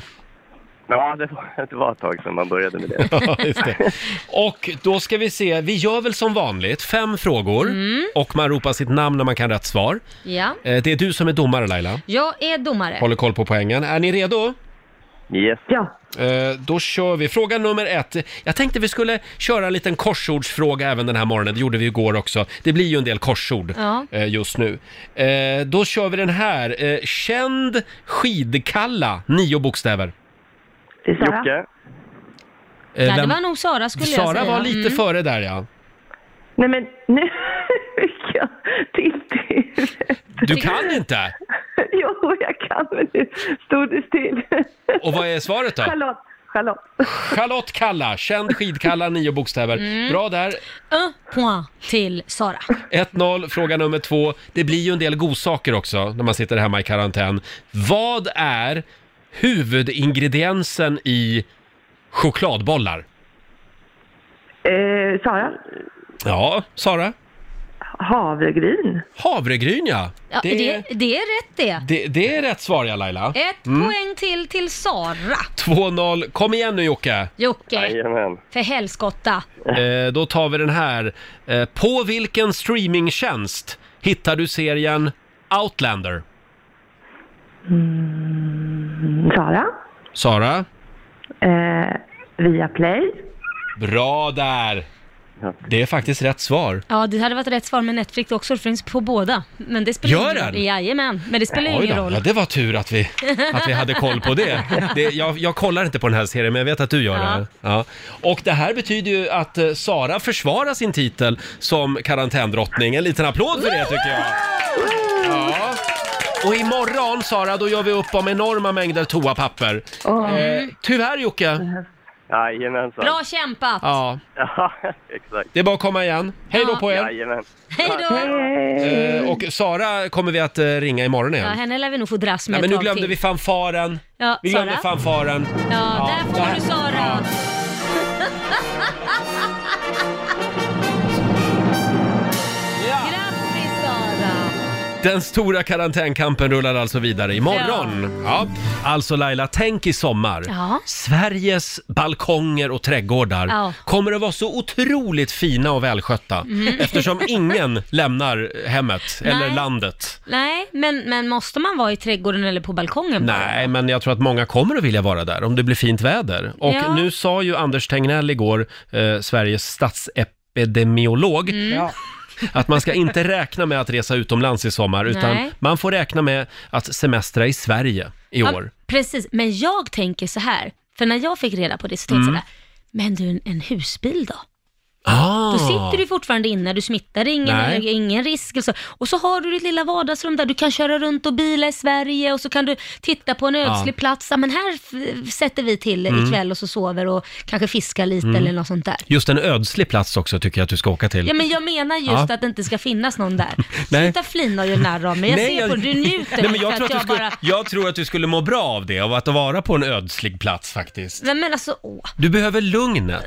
Speaker 10: Ja, det var, det var ett tag sedan man började med det.
Speaker 1: Ja, just det. Och då ska vi se, vi gör väl som vanligt, fem frågor
Speaker 2: Mm.
Speaker 1: och man ropar sitt namn när man kan rätt svar.
Speaker 2: Ja.
Speaker 1: Eh, Det är du som är domare Laila,
Speaker 2: Jag är domare.
Speaker 1: håller koll på poängen. Är ni redo?
Speaker 10: Yes.
Speaker 9: Ja,
Speaker 1: Eh, Då kör vi. Fråga nummer ett. Jag tänkte vi skulle köra en liten korsordsfråga även den här morgonen, det gjorde vi igår också. Det blir ju en del korsord
Speaker 2: Ja.
Speaker 1: eh, just nu. Eh, Då kör vi den här. Eh, Känd skidkalla, nio bokstäver.
Speaker 9: det är Sara.
Speaker 10: Jocke,
Speaker 1: Eh,
Speaker 2: Nej, det
Speaker 1: vem-
Speaker 2: var nog Sara skulle jag
Speaker 1: Sara
Speaker 2: säga.
Speaker 1: var lite
Speaker 2: Mm.
Speaker 1: före där ja.
Speaker 9: Nej men nu fick jag tilt i huvudet.
Speaker 1: Du kan inte!
Speaker 9: Jo, jag kan men nu stod det still.
Speaker 1: Och vad är svaret då?
Speaker 9: Charlotte, Charlotte.
Speaker 1: Charlotte Kalla, känd skidkalla, nio bokstäver.
Speaker 2: Mm.
Speaker 1: Bra där.
Speaker 2: Un point till Sara.
Speaker 1: 1-0, fråga nummer två. Det blir ju en del godsaker också när man sitter hemma i karantän. Vad är huvudingrediensen i chokladbollar?
Speaker 9: Eh, Sara,
Speaker 1: Ja, Sara?
Speaker 9: havregryn.
Speaker 1: Havregryn ja!
Speaker 2: Ja, det...
Speaker 1: det,
Speaker 2: Det, är rätt det.
Speaker 1: det, det är rätt svar ja Mm. Laila.
Speaker 2: Ett poäng till till Sara.
Speaker 1: 2-0, kom igen nu Jocke!
Speaker 2: Jocke,
Speaker 10: jajamän.
Speaker 2: för helskotta.
Speaker 1: Eh, då tar vi den här. Eh, på vilken streamingtjänst hittar du serien Outlander?
Speaker 9: Mm, Sara,
Speaker 1: Sara?
Speaker 9: eh, via Play.
Speaker 1: Bra där! Det är faktiskt rätt svar.
Speaker 2: Ja, det hade varit rätt svar med Netflix också, det finns på båda. Men det spelar
Speaker 1: Gör
Speaker 2: ingen roll.
Speaker 1: den?
Speaker 2: Jajamän, men det spelar ju
Speaker 1: Oj
Speaker 2: ingen
Speaker 1: då,
Speaker 2: roll.
Speaker 1: ja, det var tur att vi, att vi hade koll på det. det jag, jag kollar inte på den här serien, men jag vet att du gör det. Ja. Och det här betyder ju att eh, Sara försvarar sin titel som karantändrottning. En liten applåd för det tycker jag. Ja. Och imorgon, Sara, då gör vi upp om enorma mängder toapapper. Eh, tyvärr, Jocke,
Speaker 10: Jajamensan.
Speaker 2: Bra kämpat!
Speaker 1: Ja,
Speaker 10: Ja, exakt.
Speaker 1: det är bara att komma igen. Hej då
Speaker 2: Ja.
Speaker 1: på er!
Speaker 10: Jajamän.
Speaker 2: Hej då!
Speaker 1: Eh, och Sara kommer vi att eh, ringa imorgon
Speaker 2: Ja,
Speaker 1: igen.
Speaker 2: henne lär vi nog få dras
Speaker 1: Nej,
Speaker 2: med
Speaker 1: men
Speaker 2: ett
Speaker 1: nu
Speaker 2: tag
Speaker 1: glömde
Speaker 2: till.
Speaker 1: vi fanfaren.
Speaker 2: Ja,
Speaker 1: Vi glömde
Speaker 2: Sara?
Speaker 1: fanfaren.
Speaker 2: Ja, där får
Speaker 1: där-
Speaker 2: du Sara! Grattis Sara!
Speaker 1: Den stora karantänkampen rullar alltså vidare imorgon. Ja. Alltså Laila, tänk i sommar.
Speaker 2: Ja.
Speaker 1: Sveriges balkonger och trädgårdar
Speaker 2: Ja. Mhm.
Speaker 1: kommer att vara så otroligt fina och välskötta eftersom ingen lämnar hemmet eller
Speaker 2: Nej.
Speaker 1: landet.
Speaker 2: Nej, men, men måste man vara i trädgården eller på balkongen? bara?
Speaker 1: Nej, men jag tror att många kommer att vilja vara där om det blir fint väder. Och
Speaker 2: Ja.
Speaker 1: nu sa ju Anders Tegnell igår, eh, Sveriges statsepidemiolog,
Speaker 2: Mm.
Speaker 3: Ja.
Speaker 1: att man ska inte räkna med att resa utomlands i sommar, utan
Speaker 2: Nej.
Speaker 1: man får räkna med att semestra i Sverige i
Speaker 2: Ja,
Speaker 1: år.
Speaker 2: precis, men jag tänker så här, för när jag fick reda på det så tänkte
Speaker 1: Mm.
Speaker 2: jag så här, men du, en- en husbil då?
Speaker 1: Ah.
Speaker 2: Då sitter du fortfarande inne, du smittar ingen,
Speaker 1: Nej.
Speaker 2: ingen risk. Och så. och så har du ditt lilla vardagsrum där du kan köra runt och bila i Sverige och så kan du titta på en ödslig plats. Ja, men här f- sätter vi till
Speaker 1: Mm.
Speaker 2: ikväll och så sover och kanske fiskar lite eller något sånt där.
Speaker 1: Just en ödslig plats också tycker jag att du ska åka Mm. till.
Speaker 2: Ja, men jag menar just
Speaker 1: Ja.
Speaker 2: att det inte ska finnas någon där.
Speaker 1: Nej.
Speaker 2: Sluta flina och göra narr av mig. Jag ser på dig, du njuter
Speaker 1: Nej, men
Speaker 2: för
Speaker 1: jag, tror att du skulle,
Speaker 2: bara...
Speaker 1: jag tror att du skulle må bra av det, av att vara på en ödslig plats faktiskt.
Speaker 2: Nej, men alltså, åh.
Speaker 1: Du behöver lugnet.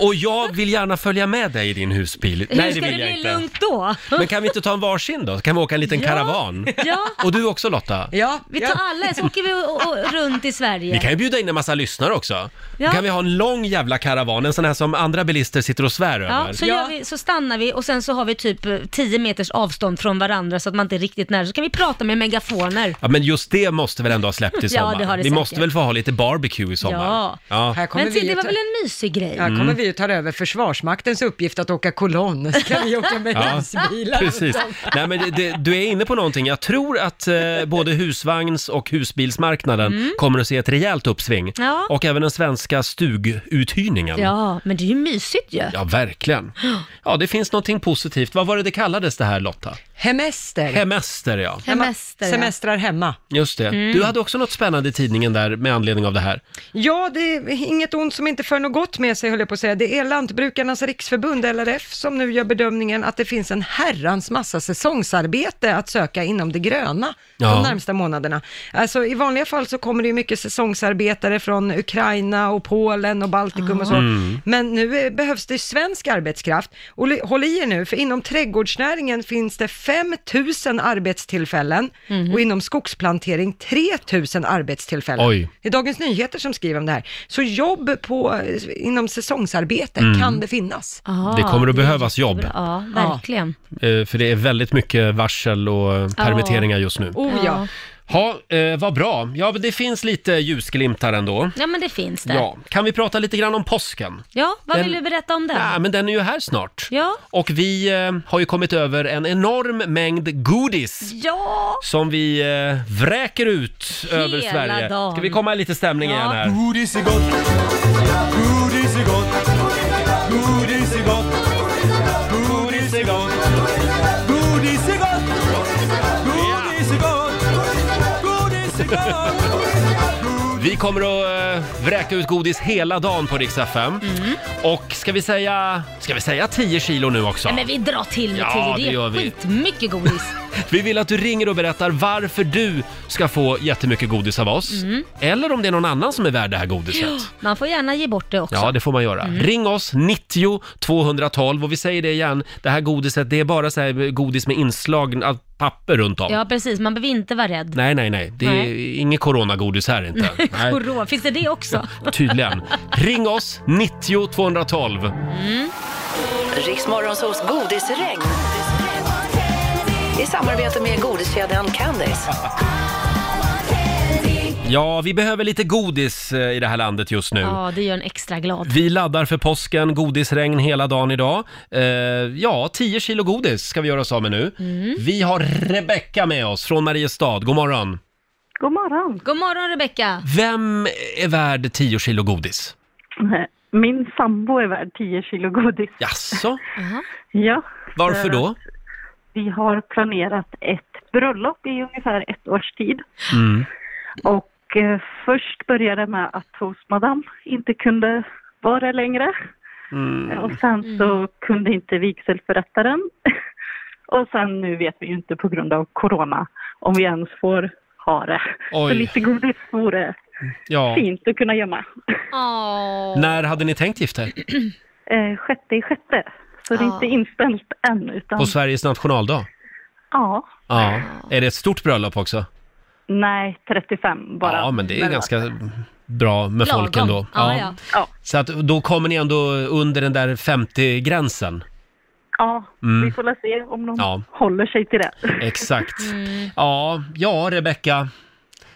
Speaker 1: Och jag vill gärna följa med dig i din husbil. Nej,
Speaker 2: Hur
Speaker 1: det
Speaker 2: ska det,
Speaker 1: vill jag
Speaker 2: bli
Speaker 1: inte.
Speaker 2: lugnt då?
Speaker 1: Men kan vi inte ta en varsin då? Så kan vi åka en liten karavan?
Speaker 2: Ja,
Speaker 1: Och du också Lotta?
Speaker 3: Ja,
Speaker 2: vi tar alla, så åker vi och, och, runt i Sverige.
Speaker 1: Vi kan ju bjuda in en massa lyssnare också. Då
Speaker 2: Ja.
Speaker 1: kan vi ha en lång jävla karavan, en sån här som andra bilister sitter och svär
Speaker 2: Ja,
Speaker 1: över.
Speaker 2: så,
Speaker 3: Ja.
Speaker 2: Gör vi, så stannar vi och sen så har vi typ eh, 10 meters avstånd från varandra så att man inte är riktigt nära. Så kan vi prata med megafoner.
Speaker 1: Ja, men just det måste väl ändå ha släppt i
Speaker 2: Ja,
Speaker 1: sommar?
Speaker 2: det har
Speaker 1: vi
Speaker 2: det säkert.
Speaker 1: måste väl få ha lite barbecue i sommar?
Speaker 2: Ja.
Speaker 3: Här kommer
Speaker 2: Men
Speaker 3: vi
Speaker 2: till, det
Speaker 3: ju
Speaker 2: var
Speaker 3: ta-
Speaker 2: väl en mysig grej?
Speaker 3: Här
Speaker 1: Mm.
Speaker 3: kommer vi ju ta över Försvarsmaktens uppgift att åka kolonn. Så kan vi åka med
Speaker 1: Ja,
Speaker 3: husbilar.
Speaker 1: Precis. Nej, men det, det, du är inne på någonting. Jag tror att eh, både husvagns och husbilsmarknaden kommer att se ett rejält uppsving.
Speaker 2: Mm. Ja.
Speaker 1: Och även den svenska stuguthyrningen.
Speaker 2: Ja, men det är ju mysigt ju.
Speaker 1: Ja, verkligen. Ja, det finns någonting positivt. Vad var det det kallades det här Lotta?
Speaker 3: Hemester.
Speaker 1: Hemester, ja.
Speaker 3: Hemma-
Speaker 2: Semester, ja.
Speaker 3: Semestrar hemma.
Speaker 1: Just det.
Speaker 2: Mm.
Speaker 1: Du hade också något spännande i tidningen där med anledning av det här.
Speaker 3: Ja, det är inget ont som inte för något gott med sig, höll jag på att säga. Det är Lantbrukarnas riksförbund, LRF, som nu gör bedömningen att det finns en herrans massa säsongsarbete att söka inom det gröna
Speaker 1: Ja.
Speaker 3: de närmsta månaderna. Alltså, I vanliga fall så kommer det ju mycket säsongsarbetare från Ukraina och Polen och Baltikum och så. Men nu eh, behövs det svensk arbetskraft. Och li- håll i er nu, för inom trädgårdsnäringen finns det 5 000 arbetstillfällen
Speaker 1: Mhm.
Speaker 3: och inom skogsplantering 3 000 arbetstillfällen.
Speaker 1: Oj.
Speaker 3: Det är Dagens Nyheter som skriver om det här. Så jobb på, eh, inom säsongsarbete kan det finnas. Ah.
Speaker 2: Ja,
Speaker 1: Mm. Det kommer att behövas
Speaker 2: jättebra.
Speaker 1: jobb.
Speaker 2: Ja, verkligen.
Speaker 1: Eh, för det är väldigt mycket varsel och eh, permitteringar just nu.
Speaker 3: Oh ja.
Speaker 1: Ja, eh, vad bra. Ja, men det finns lite ljusglimtar ändå.
Speaker 2: Ja, men det finns det. Ja,
Speaker 1: Ja, kan vi prata lite grann om påsken?
Speaker 2: vad
Speaker 1: Den-
Speaker 2: vill du berätta om den?
Speaker 1: Ja, men den är ju här snart.
Speaker 2: Ja.
Speaker 1: Och vi eh, har ju kommit över en enorm mängd godis
Speaker 2: Ja!
Speaker 1: som vi eh, vräker ut
Speaker 2: Hela
Speaker 1: över Sverige.
Speaker 2: dagen.
Speaker 1: Ska vi komma i lite stämning
Speaker 2: Ja.
Speaker 1: igen här?
Speaker 4: Godis är gott, godis är gott, godis är gott, godis är gott, godis är gott, godis är gott, godis är gott.
Speaker 1: Vi kommer att eh, vräka ut godis hela dagen på Rix FM.
Speaker 2: Mm.
Speaker 1: Och ska vi säga, ska vi säga 10 kilo nu också?
Speaker 2: Ja, men vi drar till med
Speaker 1: Ja,
Speaker 2: tio.
Speaker 1: det gör vi.
Speaker 2: skitmycket godis.
Speaker 1: Vi vill att du ringer och berättar varför du ska få jättemycket godis av oss.
Speaker 2: Mm.
Speaker 1: Eller om det är någon annan som är värd det här godiset.
Speaker 2: Man får gärna ge bort det också. Mm.
Speaker 1: Ja, det får man göra. Ring oss, 90 212 och vi säger det igen, det här godiset, det är bara så här godis med inslag av papper runt om.
Speaker 2: Ja, precis. Man behöver inte vara rädd.
Speaker 1: Nej, nej, nej. Det är
Speaker 2: Nej.
Speaker 1: inget coronagodis här inte. Nej,
Speaker 2: Corona, finns det det också?
Speaker 1: tydligen. Ring oss, 90 212.
Speaker 2: Mm.
Speaker 6: Riksmorgonsols godisregn. I samarbete med godiskedjan Candice.
Speaker 1: Ja, vi behöver lite godis eh, i det här landet just nu.
Speaker 2: Ja, det gör en extra glad.
Speaker 1: Vi laddar för påsken, godisregn hela dagen idag. Eh, ja, 10 kilo godis ska vi göra oss av med nu.
Speaker 2: Mm.
Speaker 1: Vi har Rebecka med oss från Mariestad. God morgon!
Speaker 9: God morgon.
Speaker 2: God morgon Rebecka!
Speaker 1: Vem är värd 10 kilo godis?
Speaker 9: Min sambo är värd 10 kilo godis.
Speaker 1: Jaså?
Speaker 9: Ja.
Speaker 1: Varför
Speaker 9: för
Speaker 1: då?
Speaker 9: att Vi
Speaker 1: Mm.
Speaker 9: har planerat ett bröllop i ungefär ett års tid. Och
Speaker 11: Och eh, först började det med att hostmadam inte kunde vara det längre.
Speaker 1: Mm.
Speaker 11: Och sen så kunde inte vigselförrättaren. Och sen nu vet vi ju inte på grund av corona om vi ens får ha det.
Speaker 1: Oj.
Speaker 11: Så lite godis vore
Speaker 1: Ja.
Speaker 11: fint att kunna gömma.
Speaker 1: När hade ni tänkt gifta er?
Speaker 11: Eh, sjätte i sjätte. Så det är inte inställt än utan...
Speaker 1: På Sveriges nationaldag?
Speaker 11: Ja.
Speaker 1: Ja. Är det ett stort bröllop också?
Speaker 11: Nej, 35 bara.
Speaker 1: Ja, men det är ganska bra med folk ändå.
Speaker 11: Ja, ja.
Speaker 1: Så att då kommer ni ändå under den där 50-gränsen?
Speaker 11: ja
Speaker 1: Mm.
Speaker 11: vi får väl se om de
Speaker 1: Ja.
Speaker 11: håller sig till det.
Speaker 1: Exakt.
Speaker 11: Mm.
Speaker 1: Ja, ja Rebecka.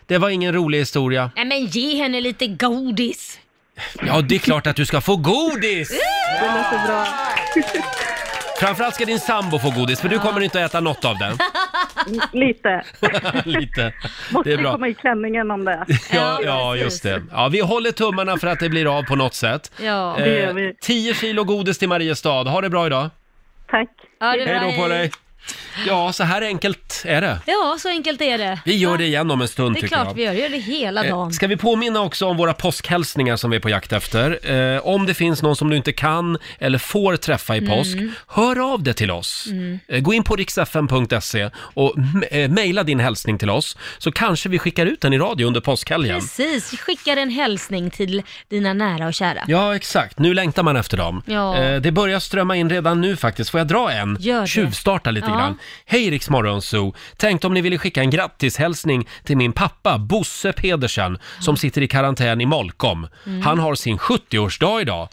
Speaker 1: Det var ingen rolig historia.
Speaker 2: Nej men ge henne lite godis.
Speaker 1: Ja, det är klart att du ska få godis!
Speaker 11: Det låter bra.
Speaker 1: Framförallt ska din sambo få godis, för du kommer inte att äta något av den.
Speaker 11: Lite.
Speaker 1: Lite.
Speaker 11: Måste
Speaker 1: Det är bra.
Speaker 11: komma i klänningen om det.
Speaker 1: Ja, ja, just det. Ja, vi håller tummarna för att det blir av på något sätt.
Speaker 2: Ja.
Speaker 11: Det gör
Speaker 1: Eh, 10 kilo godis till Mariestad. Ha det bra idag.
Speaker 11: Tack.
Speaker 2: Ja, det
Speaker 1: Hej
Speaker 2: var-
Speaker 1: då på dig. Ja, så här enkelt är det.
Speaker 2: Ja, så enkelt är det.
Speaker 1: Vi gör det igen om en stund
Speaker 2: Det är
Speaker 1: tycker
Speaker 2: klart
Speaker 1: jag.
Speaker 2: vi gör, gör det hela
Speaker 1: Eh,
Speaker 2: dagen.
Speaker 1: Ska vi påminna också om våra påskhälsningar som vi är på jakt efter? Eh, om det finns någon som du inte kan eller får träffa i
Speaker 2: Mm.
Speaker 1: påsk, hör av dig till oss.
Speaker 2: Mm.
Speaker 1: Eh, Gå in på riksfn.se och m- eh, mejla din hälsning till oss, så kanske vi skickar ut den i radio under påskhelgen.
Speaker 2: Precis, vi skickar en hälsning till dina nära och kära.
Speaker 1: Ja, exakt. Nu längtar man efter dem.
Speaker 2: Ja.
Speaker 1: Eh, det börjar strömma in redan nu faktiskt. Får jag dra en?
Speaker 2: Gör det.
Speaker 1: Tjuvstarta lite
Speaker 2: Ja.
Speaker 1: grann. Hej Rix Morgonzoo! Tänkte om ni ville skicka en grattishälsning till min pappa Bosse Pedersen som sitter i karantän i Molkom.
Speaker 4: Mm.
Speaker 1: Han har sin 70-årsdag idag.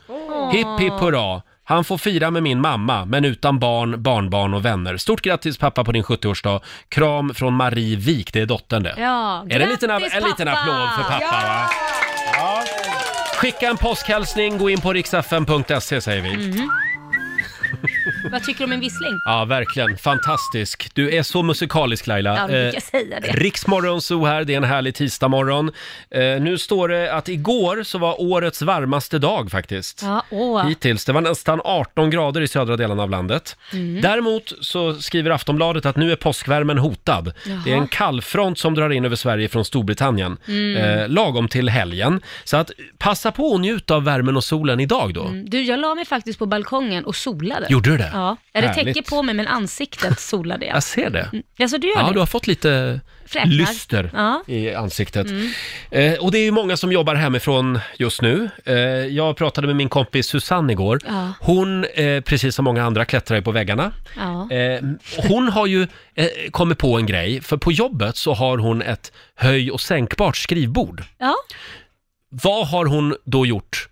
Speaker 1: Hipp hipp hurra! Han får fira med min mamma, men utan barn, barnbarn och vänner. Stort grattis pappa på din 70-årsdag. Kram från Marie Wik, det är dottern det.
Speaker 2: Ja,
Speaker 1: Är det en liten,
Speaker 2: grattis,
Speaker 1: en liten
Speaker 2: pappa!
Speaker 1: applåd för pappa?
Speaker 2: Ja!
Speaker 1: Va? Skicka en påskhälsning, gå in på riksfn.se säger vi.
Speaker 2: Mm. Vad tycker du om en vissling?
Speaker 1: Ja, verkligen. Fantastisk. Du är så musikalisk Laila. Eh,
Speaker 2: Ja, du brukar säga det.
Speaker 1: Riksmorgon så här, det är en härlig tisdagmorgon. Eh, nu står det att igår så var årets varmaste dag faktiskt.
Speaker 2: Ja, åh.
Speaker 1: Hittills. Det var nästan 18 grader i södra delen av landet.
Speaker 2: Mm.
Speaker 1: Däremot så skriver Aftonbladet att nu är påskvärmen hotad.
Speaker 2: Jaha.
Speaker 1: Det är en kallfront som drar in över Sverige från Storbritannien,
Speaker 2: Mm.
Speaker 1: eh, lagom till helgen. Så att passa på att njuta av värmen och solen idag då.
Speaker 2: Du, jag la mig faktiskt på balkongen och solade.
Speaker 1: Gjorde du det?
Speaker 2: Ja, jag hade
Speaker 1: Härligt.
Speaker 2: täcke på mig men ansiktet solade jag.
Speaker 1: Jag ser det.
Speaker 2: Mm. Alltså du gör
Speaker 1: Ja,
Speaker 2: det?
Speaker 1: du har fått lite
Speaker 2: Fräknar.
Speaker 1: lyster
Speaker 2: Ja.
Speaker 1: i ansiktet.
Speaker 2: Mm.
Speaker 1: Eh, och det är ju många som jobbar hemifrån just nu. Eh, jag pratade med min kompis Susanne igår.
Speaker 2: Ja.
Speaker 1: Hon, eh, precis som många andra, klättrar ju på väggarna.
Speaker 2: Ja.
Speaker 1: Eh, hon har ju eh, kommit på en grej, för på jobbet så har hon ett höj och sänkbart skrivbord.
Speaker 2: ja.
Speaker 1: Vad har hon då gjort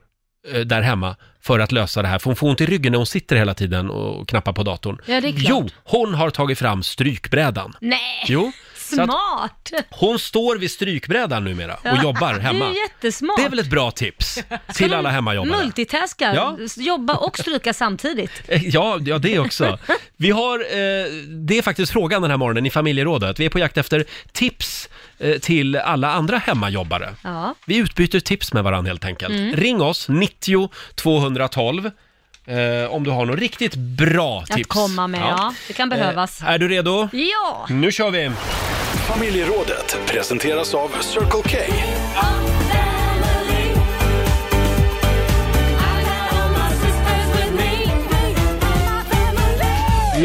Speaker 1: eh, där hemma för att lösa det här? För hon får ont i ryggen när hon sitter hela tiden och knappar på datorn.
Speaker 2: Ja, det är klart.
Speaker 1: Jo, hon har tagit fram strykbrädan.
Speaker 2: Nej,
Speaker 1: Jo, så att
Speaker 2: smart!
Speaker 1: hon står vid strykbrädan numera och
Speaker 2: Ja,
Speaker 1: jobbar
Speaker 2: Du
Speaker 1: hemma.
Speaker 2: är jättesmart.
Speaker 1: Det är väl ett bra tips till alla hemmajobbare?
Speaker 2: Multitaska,
Speaker 1: Ja.
Speaker 2: jobba och stryka samtidigt.
Speaker 1: Eh, Ja, ja, det också. Vi har, eh, det är faktiskt frågan den här morgonen i familjerådet. Vi är på jakt efter tips eh, till alla andra hemmajobbare.
Speaker 2: Ja.
Speaker 1: Vi utbyter tips med varandra helt enkelt.
Speaker 2: Mm.
Speaker 1: Ring oss, 90 212, eh, om du har något riktigt bra
Speaker 2: Att
Speaker 1: tips.
Speaker 2: komma med, ja. Det kan behövas.
Speaker 1: Eh, är du redo?
Speaker 2: Ja!
Speaker 1: Nu kör vi!
Speaker 12: Familjerådet presenteras av Circle K.
Speaker 13: Mm.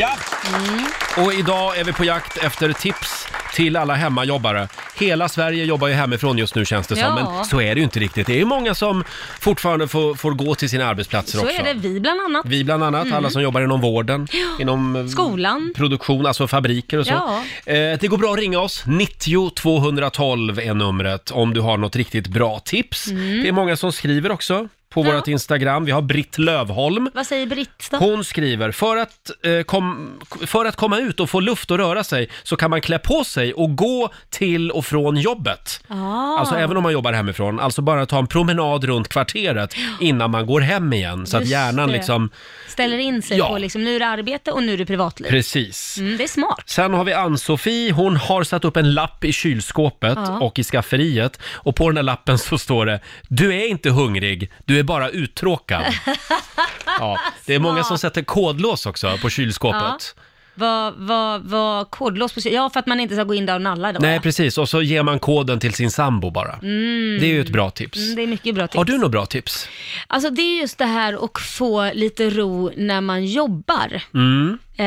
Speaker 1: Ja! Mm. Och idag är vi på jakt efter tips till alla hemmajobbare. Hela Sverige jobbar ju hemifrån just nu känns det som,
Speaker 2: Ja.
Speaker 1: men så är det ju inte riktigt. Det är ju många som fortfarande får, får gå till sina arbetsplatser
Speaker 2: Så
Speaker 1: också.
Speaker 2: är det, vi bland annat.
Speaker 1: Vi bland annat,
Speaker 2: Mm.
Speaker 1: alla som jobbar inom vården, inom eh,
Speaker 2: Skolan.
Speaker 1: produktion, alltså fabriker och så.
Speaker 2: Ja.
Speaker 1: Eh, det går bra att ringa oss, 90 212 är numret om du har något riktigt bra tips.
Speaker 2: Mm.
Speaker 1: Det är många som skriver också på vårt Instagram. Vi har Britt Lövholm.
Speaker 2: Vad säger Britt då?
Speaker 1: Hon skriver, för att, eh, kom, för att komma ut och få luft och röra sig så kan man klä på sig och gå till och från jobbet.
Speaker 2: Ah.
Speaker 1: Alltså även om man jobbar hemifrån, alltså bara ta en promenad runt kvarteret innan man går hem igen så att
Speaker 2: Just
Speaker 1: hjärnan
Speaker 2: det.
Speaker 1: liksom,
Speaker 2: Ställer in sig
Speaker 1: Ja.
Speaker 2: på liksom, nu är det arbete och nu är det privatliv.
Speaker 1: precis.
Speaker 2: Mm, det är smart.
Speaker 1: Sen har vi Ann-Sofie, hon har satt upp en lapp i kylskåpet
Speaker 2: Ja.
Speaker 1: och i skafferiet och på den här lappen så står det Du är inte hungrig, du är bara uttråkad. Ja, det är många som sätter kodlås också på kylskåpet.
Speaker 2: var, var, var kodlås på sig. Ja, för att man inte ska gå in där och nalla då.
Speaker 1: Nej, precis. Och så ger man koden till sin sambo bara.
Speaker 2: Mm.
Speaker 1: Det är ju ett bra tips.
Speaker 2: Mm, det är mycket bra tips.
Speaker 1: Har du något bra tips?
Speaker 2: Alltså det är just det här att få lite ro när man jobbar
Speaker 1: Mm.
Speaker 2: eh,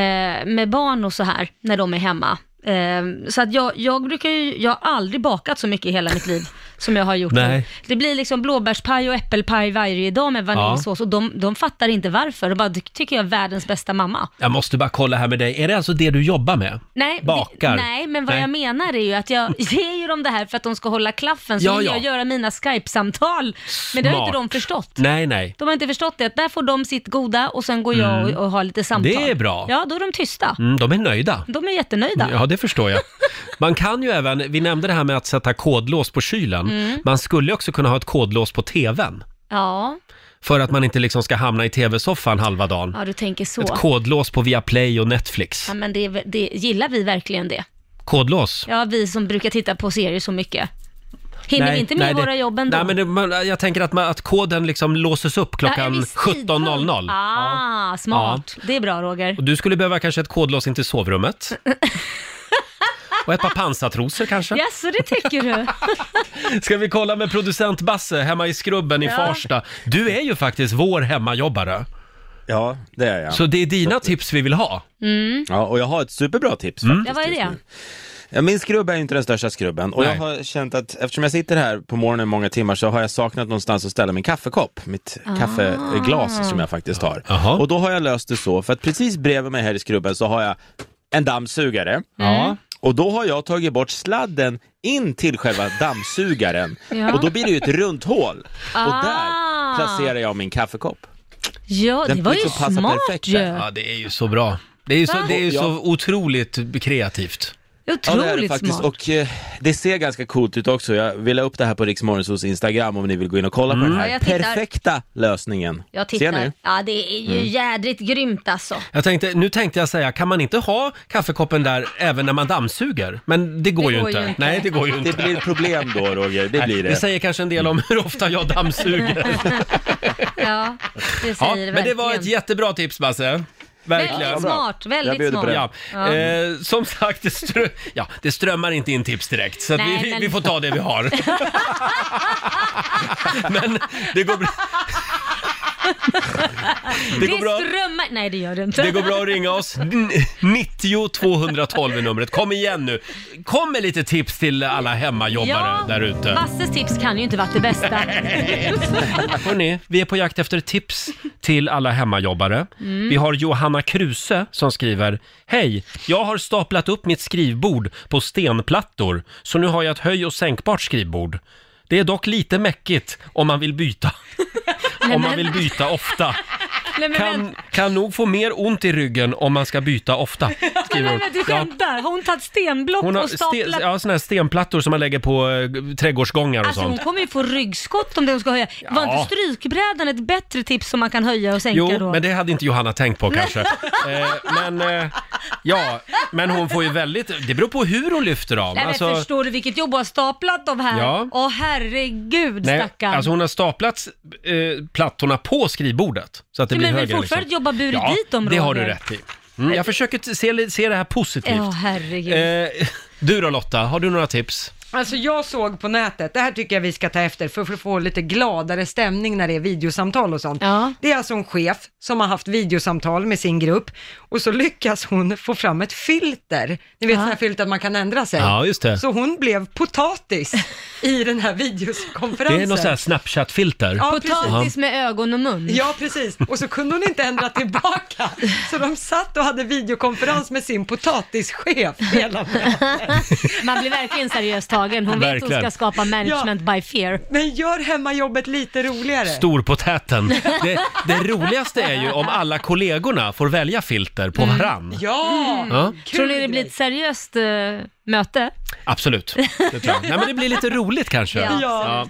Speaker 2: med barn och så här, när de är hemma. Eh, så att jag, jag brukar ju, jag har aldrig bakat så mycket i hela mitt liv som jag har gjort nu.
Speaker 14: Nej.
Speaker 2: Det blir liksom blåbärspaj och äppelpaj varje dag med vaniljsås och de, de fattar inte varför. De bara, "Du tycker jag är världens bästa mamma.
Speaker 1: Jag måste bara kolla här med dig. Är det alltså det du jobbar med?
Speaker 2: Nej, det-
Speaker 1: Bakar?
Speaker 2: nej, men vad jag menar är ju att jag ger ju dem det här för att de ska hålla klaffen, så
Speaker 1: Ja,
Speaker 2: vill
Speaker 1: ja.
Speaker 2: jag göra mina Skype-samtal. Men det har ju inte de
Speaker 1: Smart.
Speaker 2: förstått.
Speaker 1: Nej, nej.
Speaker 2: De har inte förstått det, att där får de sitt goda och sen går jag
Speaker 1: Mm.
Speaker 2: och, och har lite samtal.
Speaker 1: Det är bra.
Speaker 2: Ja, då är de tysta.
Speaker 1: Mm, de är nöjda.
Speaker 2: De är jättenöjda.
Speaker 1: Ja, det förstår jag. Man kan ju även, vi nämnde det här med att sätta kodlås på kylen.
Speaker 2: Mm.
Speaker 1: Man skulle ju också kunna ha ett kodlås på tvn.
Speaker 2: Ja,
Speaker 1: För att man inte liksom ska hamna i tv-soffan halva dagen.
Speaker 2: ja du tänker så.
Speaker 1: Ett kodlås på Viaplay och Netflix.
Speaker 2: Ja, men det, är väl- det, gillar vi verkligen det?
Speaker 1: Kodlås?
Speaker 2: Ja, vi som brukar titta på serier så mycket. Hinner vi inte med
Speaker 1: nej, det-
Speaker 2: våra jobb ändå?
Speaker 1: Nej, men det, man, jag tänker att, man, att koden liksom låses upp
Speaker 2: Ja, en
Speaker 1: klockan
Speaker 2: viss tidpunkt.
Speaker 1: 17.00.
Speaker 2: Ah, smart. Det är bra Roger.
Speaker 1: Och du skulle behöva kanske ett kodlås in till sovrummet. Och ett par pansartrosor kanske?
Speaker 2: Ja, så det tycker du?
Speaker 1: Ska vi kolla med producent Basse hemma i Skrubben i
Speaker 2: Ja.
Speaker 1: Farsta. Du är ju faktiskt vår hemmajobbare.
Speaker 8: Ja, det är jag.
Speaker 1: Så det är dina tips vi vill ha.
Speaker 2: Mm.
Speaker 8: Ja, och jag har ett superbra tips
Speaker 1: Mm.
Speaker 2: Ja,
Speaker 8: faktiskt.
Speaker 2: vad är det?
Speaker 8: Ja, min skrubb är ju inte den största skrubben och
Speaker 1: Nej.
Speaker 8: jag har känt att eftersom jag sitter här på morgonen många timmar så har jag saknat någonstans att ställa min kaffekopp, mitt
Speaker 12: Ah.
Speaker 8: kaffeglas som jag faktiskt har. Och då har jag löst det så, för att precis bredvid mig här i skrubben så har jag en dammsugare.
Speaker 12: Ja.
Speaker 8: Och då har jag tagit bort sladden in till själva dammsugaren.
Speaker 2: Ja.
Speaker 8: Och då blir det ju ett runt hål. Och
Speaker 2: Ah.
Speaker 8: där placerar jag min kaffekopp.
Speaker 2: Ja, det
Speaker 8: Den
Speaker 2: var ju
Speaker 8: liksom passar
Speaker 2: smart
Speaker 8: perfekt
Speaker 2: ju.
Speaker 8: där.
Speaker 1: Ja, det är ju så bra. Det är ju så,
Speaker 2: Va?
Speaker 1: det är ju så
Speaker 8: Ja.
Speaker 1: otroligt kreativt.
Speaker 8: ja, det är det
Speaker 2: Otroligt
Speaker 8: faktiskt.
Speaker 2: smart.
Speaker 8: Och eh, det ser ganska coolt ut också. Jag vill la upp det här på Riksmorgonsos Instagram om ni vill gå in och kolla på den
Speaker 2: Ja,
Speaker 8: här
Speaker 2: jag tittar.
Speaker 8: perfekta lösningen.
Speaker 2: Jag
Speaker 8: Ser
Speaker 2: tittar.
Speaker 8: ni?
Speaker 2: Ja, det är ju
Speaker 1: Mm.
Speaker 2: jädrigt grymt alltså.
Speaker 1: Jag tänkte, nu tänkte jag säga, kan man inte ha kaffekoppen där även när man dammsuger? Men det går, ju,
Speaker 2: går
Speaker 1: inte.
Speaker 2: ju inte.
Speaker 1: Nej, det går ju inte.
Speaker 8: Det blir problem då, Roger. Det
Speaker 1: Nej,
Speaker 8: blir det.
Speaker 1: Det säger kanske en del om hur ofta jag dammsuger.
Speaker 2: Ja, det säger
Speaker 1: Ja,
Speaker 2: det
Speaker 1: men det var ett
Speaker 2: verkligen.
Speaker 1: jättebra tips Basse. Verkligen.
Speaker 2: Väldigt smart, väldigt Jag bjuder på
Speaker 1: Ja.
Speaker 2: smart. det. Ja.
Speaker 1: Eh, som sagt, det, strö- ja, det strömmar inte in tips direkt, så att
Speaker 2: Nej,
Speaker 1: vi, vi-
Speaker 2: men-
Speaker 1: vi får ta det vi har. men det går, bra,
Speaker 2: Det,
Speaker 1: Det går bra.
Speaker 2: strömmar... Nej, det gör det inte.
Speaker 1: det går bra att ringa oss. N- 90 212 är numret. Kom igen nu. Kom med lite tips till alla hemmajobbare där ute.
Speaker 2: Basses tips kan ju inte varit det bästa.
Speaker 1: Hörrni, vi är på jakt efter tips till alla hemmajobbare.
Speaker 2: Mm.
Speaker 1: Vi har Johanna Kruse som skriver Hej! Jag har staplat upp mitt skrivbord på stenplattor, så nu har jag ett höj och sänkbart skrivbord. Det är dock lite mäckigt om man vill byta. om man vill byta ofta.
Speaker 2: Nej, men
Speaker 1: Kan,
Speaker 2: vänta.
Speaker 1: kan nog få mer ont i ryggen om man ska byta ofta,
Speaker 2: Nej,
Speaker 1: skriver
Speaker 2: men
Speaker 1: hon.
Speaker 2: vänta, du
Speaker 1: Ja.
Speaker 2: skämtar? Har hon tagit stenblock
Speaker 1: Hon har
Speaker 2: och
Speaker 1: sten,
Speaker 2: staplat?
Speaker 1: ja, såna här stenplattor som man lägger på eh, trädgårdsgångar och
Speaker 2: alltså hon
Speaker 1: sånt.
Speaker 2: kommer ju få ryggskott om det hon ska höja. Var
Speaker 1: Ja.
Speaker 2: inte strykbrädan ett bättre tips som man kan höja och sänka
Speaker 1: Jo,
Speaker 2: då?
Speaker 1: men det hade inte Johanna tänkt på kanske. eh, men, eh, ja, men hon får ju väldigt, det beror på hur hon lyfter dem.
Speaker 2: Nej, men
Speaker 1: Alltså-
Speaker 2: förstår du vilket jobb hon har staplat dem här?
Speaker 1: Ja.
Speaker 2: Åh herregud
Speaker 1: Nej,
Speaker 2: stackarn.
Speaker 1: alltså hon har staplat eh, plattorna på skrivbordet. Så att det
Speaker 2: Ja,
Speaker 1: blir
Speaker 2: men
Speaker 1: högre
Speaker 2: vill fortfarande
Speaker 1: liksom.
Speaker 2: jobba burit
Speaker 1: ja,
Speaker 2: dit dem,
Speaker 1: det har du
Speaker 2: Roger.
Speaker 1: rätt i. Mm, jag försöker t- se, li- se det här positivt.
Speaker 2: Ja, herregud.
Speaker 1: Eh, du då Lotta, har du några tips?
Speaker 3: Alltså jag såg på nätet, det här tycker jag vi ska ta efter för att få lite gladare stämning när det är videosamtal och sånt. Det är alltså en chef som har haft videosamtal med sin grupp och så lyckas hon få fram ett filter. Ni vet sådana här filter att man kan ändra sig.
Speaker 1: Ja, just det.
Speaker 3: Så hon blev potatis i den här videokonferensen.
Speaker 1: Det är något sånt här Snapchat-filter.
Speaker 2: Potatis med ögon och mun.
Speaker 3: Ja, precis. Och så kunde hon inte ändra tillbaka. Så de satt och hade videokonferens med sin potatischef hela
Speaker 2: Man blir verkligen seriöst tagen. Hon vet hon
Speaker 1: Verkligen.
Speaker 2: ska skapa management by fear.
Speaker 3: Men gör hemmajobbet lite roligare.
Speaker 1: Storpotäten. Det, det roligaste är ju om alla kollegorna får välja filter på
Speaker 2: Mm.
Speaker 1: varann.
Speaker 3: Ja!
Speaker 1: Ja.
Speaker 2: Tror ni det blir ett seriöst eh, möte?
Speaker 1: Absolut, det tror jag. Nej, men det blir lite roligt kanske.
Speaker 2: Ja.
Speaker 1: Ja.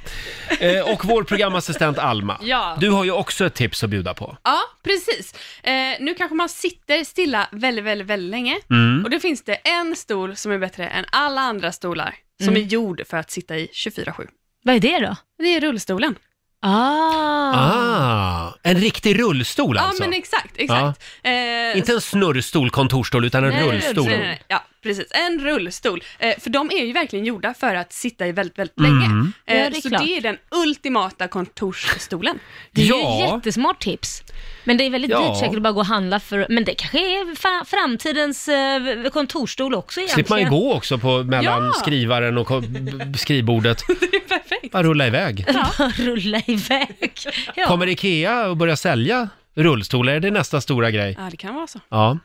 Speaker 1: Eh, och vår programassistent Alma,
Speaker 5: Ja.
Speaker 1: du har ju också ett tips att bjuda på.
Speaker 5: Ja, precis. Eh, nu kanske man sitter stilla väldigt, väldigt, väldigt länge.
Speaker 1: Mm.
Speaker 5: Och då finns det en stol som är bättre än alla andra stolar, som
Speaker 2: Mm.
Speaker 5: är gjord för att sitta i 24-7.
Speaker 2: Vad är det då?
Speaker 5: Det är rullstolen.
Speaker 2: Ah.
Speaker 1: Ah, En riktig rullstol alltså?
Speaker 5: Ja, men exakt. exakt. Eh,
Speaker 1: Inte en snurrstol, kontorsstol, utan en
Speaker 5: Nej,
Speaker 1: rullstol.
Speaker 5: Nej, nej, nej. Ja, precis. En rullstol. Eh, för de är ju verkligen gjorda för att sitta i väldigt, väldigt
Speaker 1: Mm.
Speaker 5: länge. Eh,
Speaker 2: Ja, det är
Speaker 5: så
Speaker 2: klart.
Speaker 5: det är den ultimata kontorsstolen.
Speaker 2: Det är ju ett jättesmart tips. Men det är väldigt
Speaker 5: Ja.
Speaker 2: dyrt säkert att bara gå och handla för, men det kanske är fa- framtidens eh, kontorsstol också egentligen.
Speaker 1: Slipper man ju gå också på, mellan
Speaker 2: Ja.
Speaker 1: skrivaren och ko- b- skrivbordet. det är perfekt. Bara rulla iväg.
Speaker 2: Bara rulla iväg. Ja.
Speaker 1: Kommer IKEA och börja sälja rullstolar? Är det nästa stora grej?
Speaker 5: Ja, det kan vara så.
Speaker 1: Ja,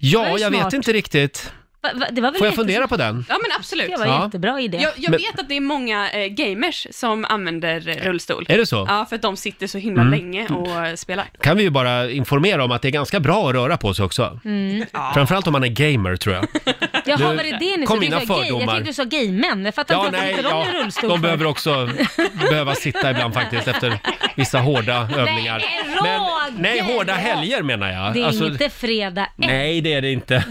Speaker 5: Det
Speaker 1: ja
Speaker 5: var ju
Speaker 1: jag
Speaker 5: smart.
Speaker 1: vet inte riktigt.
Speaker 2: Va, va, det var väl
Speaker 1: Får jag
Speaker 2: jättesmart.
Speaker 1: fundera på den?
Speaker 5: Ja, men absolut.
Speaker 1: Det var en Ja. jättebra idé.
Speaker 5: Jag, jag
Speaker 1: Men-
Speaker 5: vet att det är många eh, gamers som använder eh, rullstol.
Speaker 1: Är det så?
Speaker 5: Ja, för att de sitter så himla
Speaker 1: Mm.
Speaker 5: länge och eh, spelar.
Speaker 1: Kan vi ju bara informera om att det är ganska bra att röra på sig också.
Speaker 2: Mm.
Speaker 1: Framförallt om man är gamer tror jag.
Speaker 2: Jaha,
Speaker 1: Du-
Speaker 2: var det det
Speaker 1: kom
Speaker 2: ni sa? Du
Speaker 1: mina
Speaker 2: sa gay. Jag
Speaker 1: fördomar.
Speaker 2: tänkte du sa gaymän. Jag fattar inte varför inte de är rullstol.
Speaker 1: de
Speaker 2: för.
Speaker 1: behöver också behöva sitta ibland faktiskt efter vissa hårda övningar.
Speaker 2: Roger!
Speaker 1: Nej, hårda helger menar jag.
Speaker 2: Det är
Speaker 1: Alltså-
Speaker 2: inte fredag ett.
Speaker 1: Nej, det är det inte.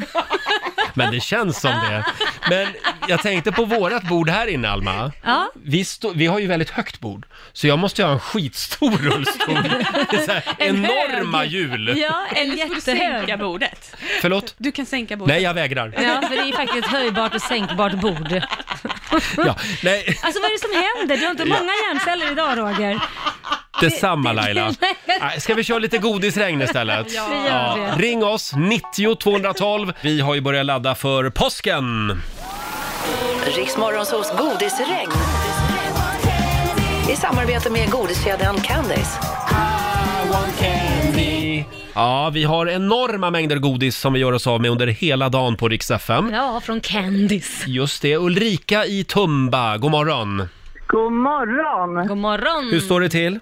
Speaker 1: Men det känns som det. Men jag tänkte på vårat bord här inne, Alma.
Speaker 2: Ja.
Speaker 1: Vi, stå, vi har ju väldigt högt bord, så jag måste ju ha en skitstor rullstol. Det är så här,
Speaker 5: En
Speaker 1: enorma
Speaker 5: hög.
Speaker 1: hjul.
Speaker 2: Ja, en
Speaker 5: Eller så får
Speaker 2: jättehög.
Speaker 5: Du sänka bordet.
Speaker 1: Förlåt?
Speaker 5: Du kan sänka bordet.
Speaker 1: Nej, jag vägrar.
Speaker 2: Ja, för det är ju faktiskt ett höjbart och sänkbart bord.
Speaker 1: Ja, nej,
Speaker 2: Alltså vad är det som händer? Du har inte
Speaker 1: Ja.
Speaker 2: många hjärnceller idag Roger.
Speaker 1: detsamma Laila.
Speaker 2: Nej.
Speaker 1: Nej, Ska vi köra lite godisregn istället?
Speaker 2: Ja, vi gör det.
Speaker 1: Ring oss, 90 212. Vi har ju börjat ladda för påsken.
Speaker 6: Riksmorgonsols godisregn. I samarbete med godiskedjan Candice.
Speaker 1: Ja, vi har enorma mängder godis som vi gör oss av med under hela dagen på Rix FM.
Speaker 2: Ja, från Candice.
Speaker 1: Just det, Ulrika i Tumba, god morgon.
Speaker 14: God morgon!
Speaker 2: God morgon!
Speaker 1: Hur står det till?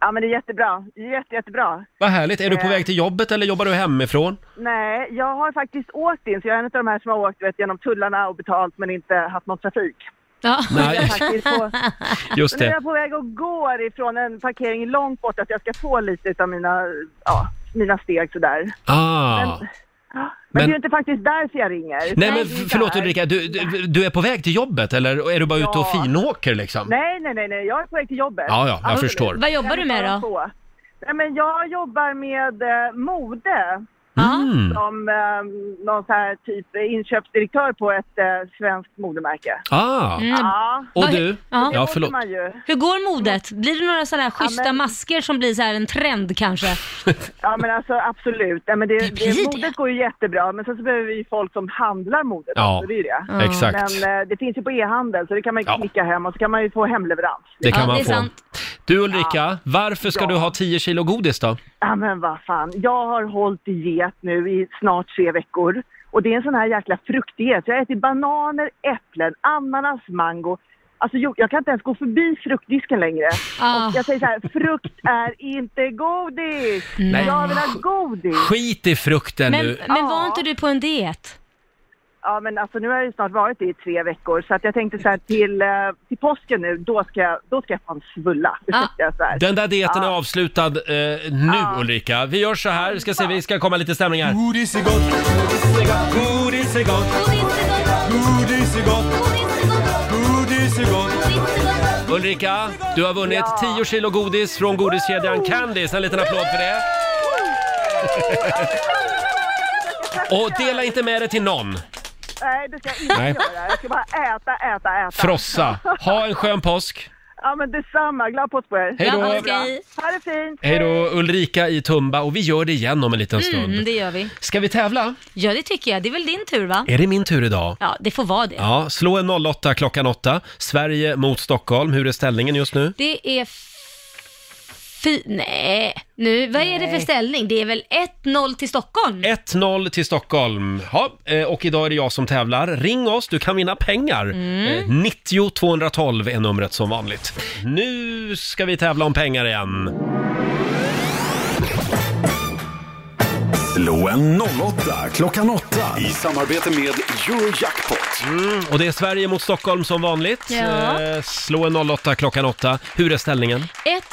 Speaker 14: Ja, men det är jättebra. Jätte, jättebra.
Speaker 1: Vad härligt, är du på
Speaker 14: Eh.
Speaker 1: väg till jobbet eller jobbar du hemifrån?
Speaker 14: Nej, jag har faktiskt åkt in, så jag är en av de här som har åkt vet, genom tullarna och betalt men inte haft någon trafik.
Speaker 2: Ja.
Speaker 1: Nej.
Speaker 14: Jag är faktiskt på...
Speaker 1: Just
Speaker 14: Men nu
Speaker 1: det.
Speaker 14: är jag på väg och går ifrån en parkering långt bort, att jag ska få lite av mina, ja, mina steg sådär.
Speaker 1: Ah.
Speaker 14: Men, det
Speaker 1: Men-
Speaker 14: är ju inte faktiskt därför jag ringer.
Speaker 1: Nej men
Speaker 14: Det är
Speaker 1: f- förlåt
Speaker 14: där.
Speaker 1: Ulrika, du, du, du är på väg till jobbet eller är du bara ute och
Speaker 14: Ja.
Speaker 1: finåker liksom?
Speaker 14: Nej, nej, nej, nej, jag är på väg till jobbet.
Speaker 1: Ja, ja, jag förstår. Vad
Speaker 2: jobbar du med då?
Speaker 14: Så. Nej, men jag jobbar med eh, mode.
Speaker 1: Mm.
Speaker 14: Som eh, någon så här typ inköpsdirektör på ett eh, svenskt modemärke.
Speaker 1: Ah.
Speaker 2: Mm.
Speaker 14: Ja.
Speaker 1: Och du?
Speaker 2: Ja.
Speaker 1: Ja, förlåt.
Speaker 14: Man ju.
Speaker 2: Hur går modet? Blir det några sådana här schyssta masker som blir så här en trend kanske?
Speaker 14: Ja men alltså absolut. Nej, men det, det,
Speaker 2: blir det.
Speaker 14: modet går ju jättebra men sen så behöver vi ju folk som handlar modet
Speaker 1: Ja,
Speaker 14: också, det är ju det.
Speaker 1: Ja. exakt.
Speaker 14: Men eh, det finns ju på e-handel så det kan man ju klicka hem och så kan man ju få hemleverans.
Speaker 1: Det kan man få. Du Ulrika, varför ska du ha 10 kilo godis då?
Speaker 14: Ja men vad fan, jag har hållit diet nu i snart tre veckor. Och det är en sån här jäkla fruktdiet. Jag äter bananer, äpplen, ananas, mango. Alltså jo, jag kan inte ens gå förbi fruktdisken längre.
Speaker 2: Ah.
Speaker 14: Och jag säger så här, frukt är inte godis!
Speaker 1: Nej.
Speaker 14: Jag vill ha godis!
Speaker 1: Skit i frukten
Speaker 2: Men,
Speaker 1: nu.
Speaker 2: men var inte du på en diet?
Speaker 14: Ja men alltså nu har jag ju snart varit det i tre veckor så att jag tänkte så här till, eh, till påsken nu, då ska jag, då ska jag fan svulla.
Speaker 2: Ah.
Speaker 14: Ursäkta jag svär.
Speaker 1: Den där dieten är avslutad eh, nu Ulrika. Vi gör så här, ska se, vi ska komma lite stämningar. Godis är gott, godis är gott,
Speaker 4: Godis är gott. Godis är gott.
Speaker 1: Ulrika, du har vunnit 10 kilo godis från godiskedjan Candice. En liten applåd för det. Och dela inte med det till någon.
Speaker 14: Nej det ska jag inte
Speaker 1: Nej.
Speaker 14: göra. Jag ska bara äta, äta, äta.
Speaker 1: Frossa. Ha en skön påsk.
Speaker 14: Ja men detsamma, glad påsk på er.
Speaker 1: Hej då.
Speaker 14: Ha
Speaker 1: Glad
Speaker 14: det
Speaker 1: påsk,
Speaker 14: bra. Ha det fint.
Speaker 1: Hej då Ulrika i Tumba och vi gör det igen om en liten
Speaker 2: Mm,
Speaker 1: stund.
Speaker 2: det gör vi.
Speaker 1: Ska vi tävla?
Speaker 2: Ja, det tycker jag. Det är väl din tur va?
Speaker 1: Är det min tur idag?
Speaker 2: Ja, det får vara det.
Speaker 1: Ja, slå en 08 klockan 8. Sverige mot Stockholm. Hur är ställningen just nu?
Speaker 2: Det är... f- Fy... Nej, nu, vad är det för ställning? Det är väl 1-0 till Stockholm?
Speaker 1: 1-0 till Stockholm. Ja, eh, och idag är det jag som tävlar. Ring oss, du kan vinna pengar. Eh, 90 212 är numret som vanligt. Nu ska vi tävla om pengar igen.
Speaker 12: Slå en 08 klockan 8 i samarbete med Eurojackpot.
Speaker 1: Mm, och det är Sverige mot Stockholm som vanligt.
Speaker 2: Ja.
Speaker 1: Eh, slå en 08 klockan 8. Hur är ställningen?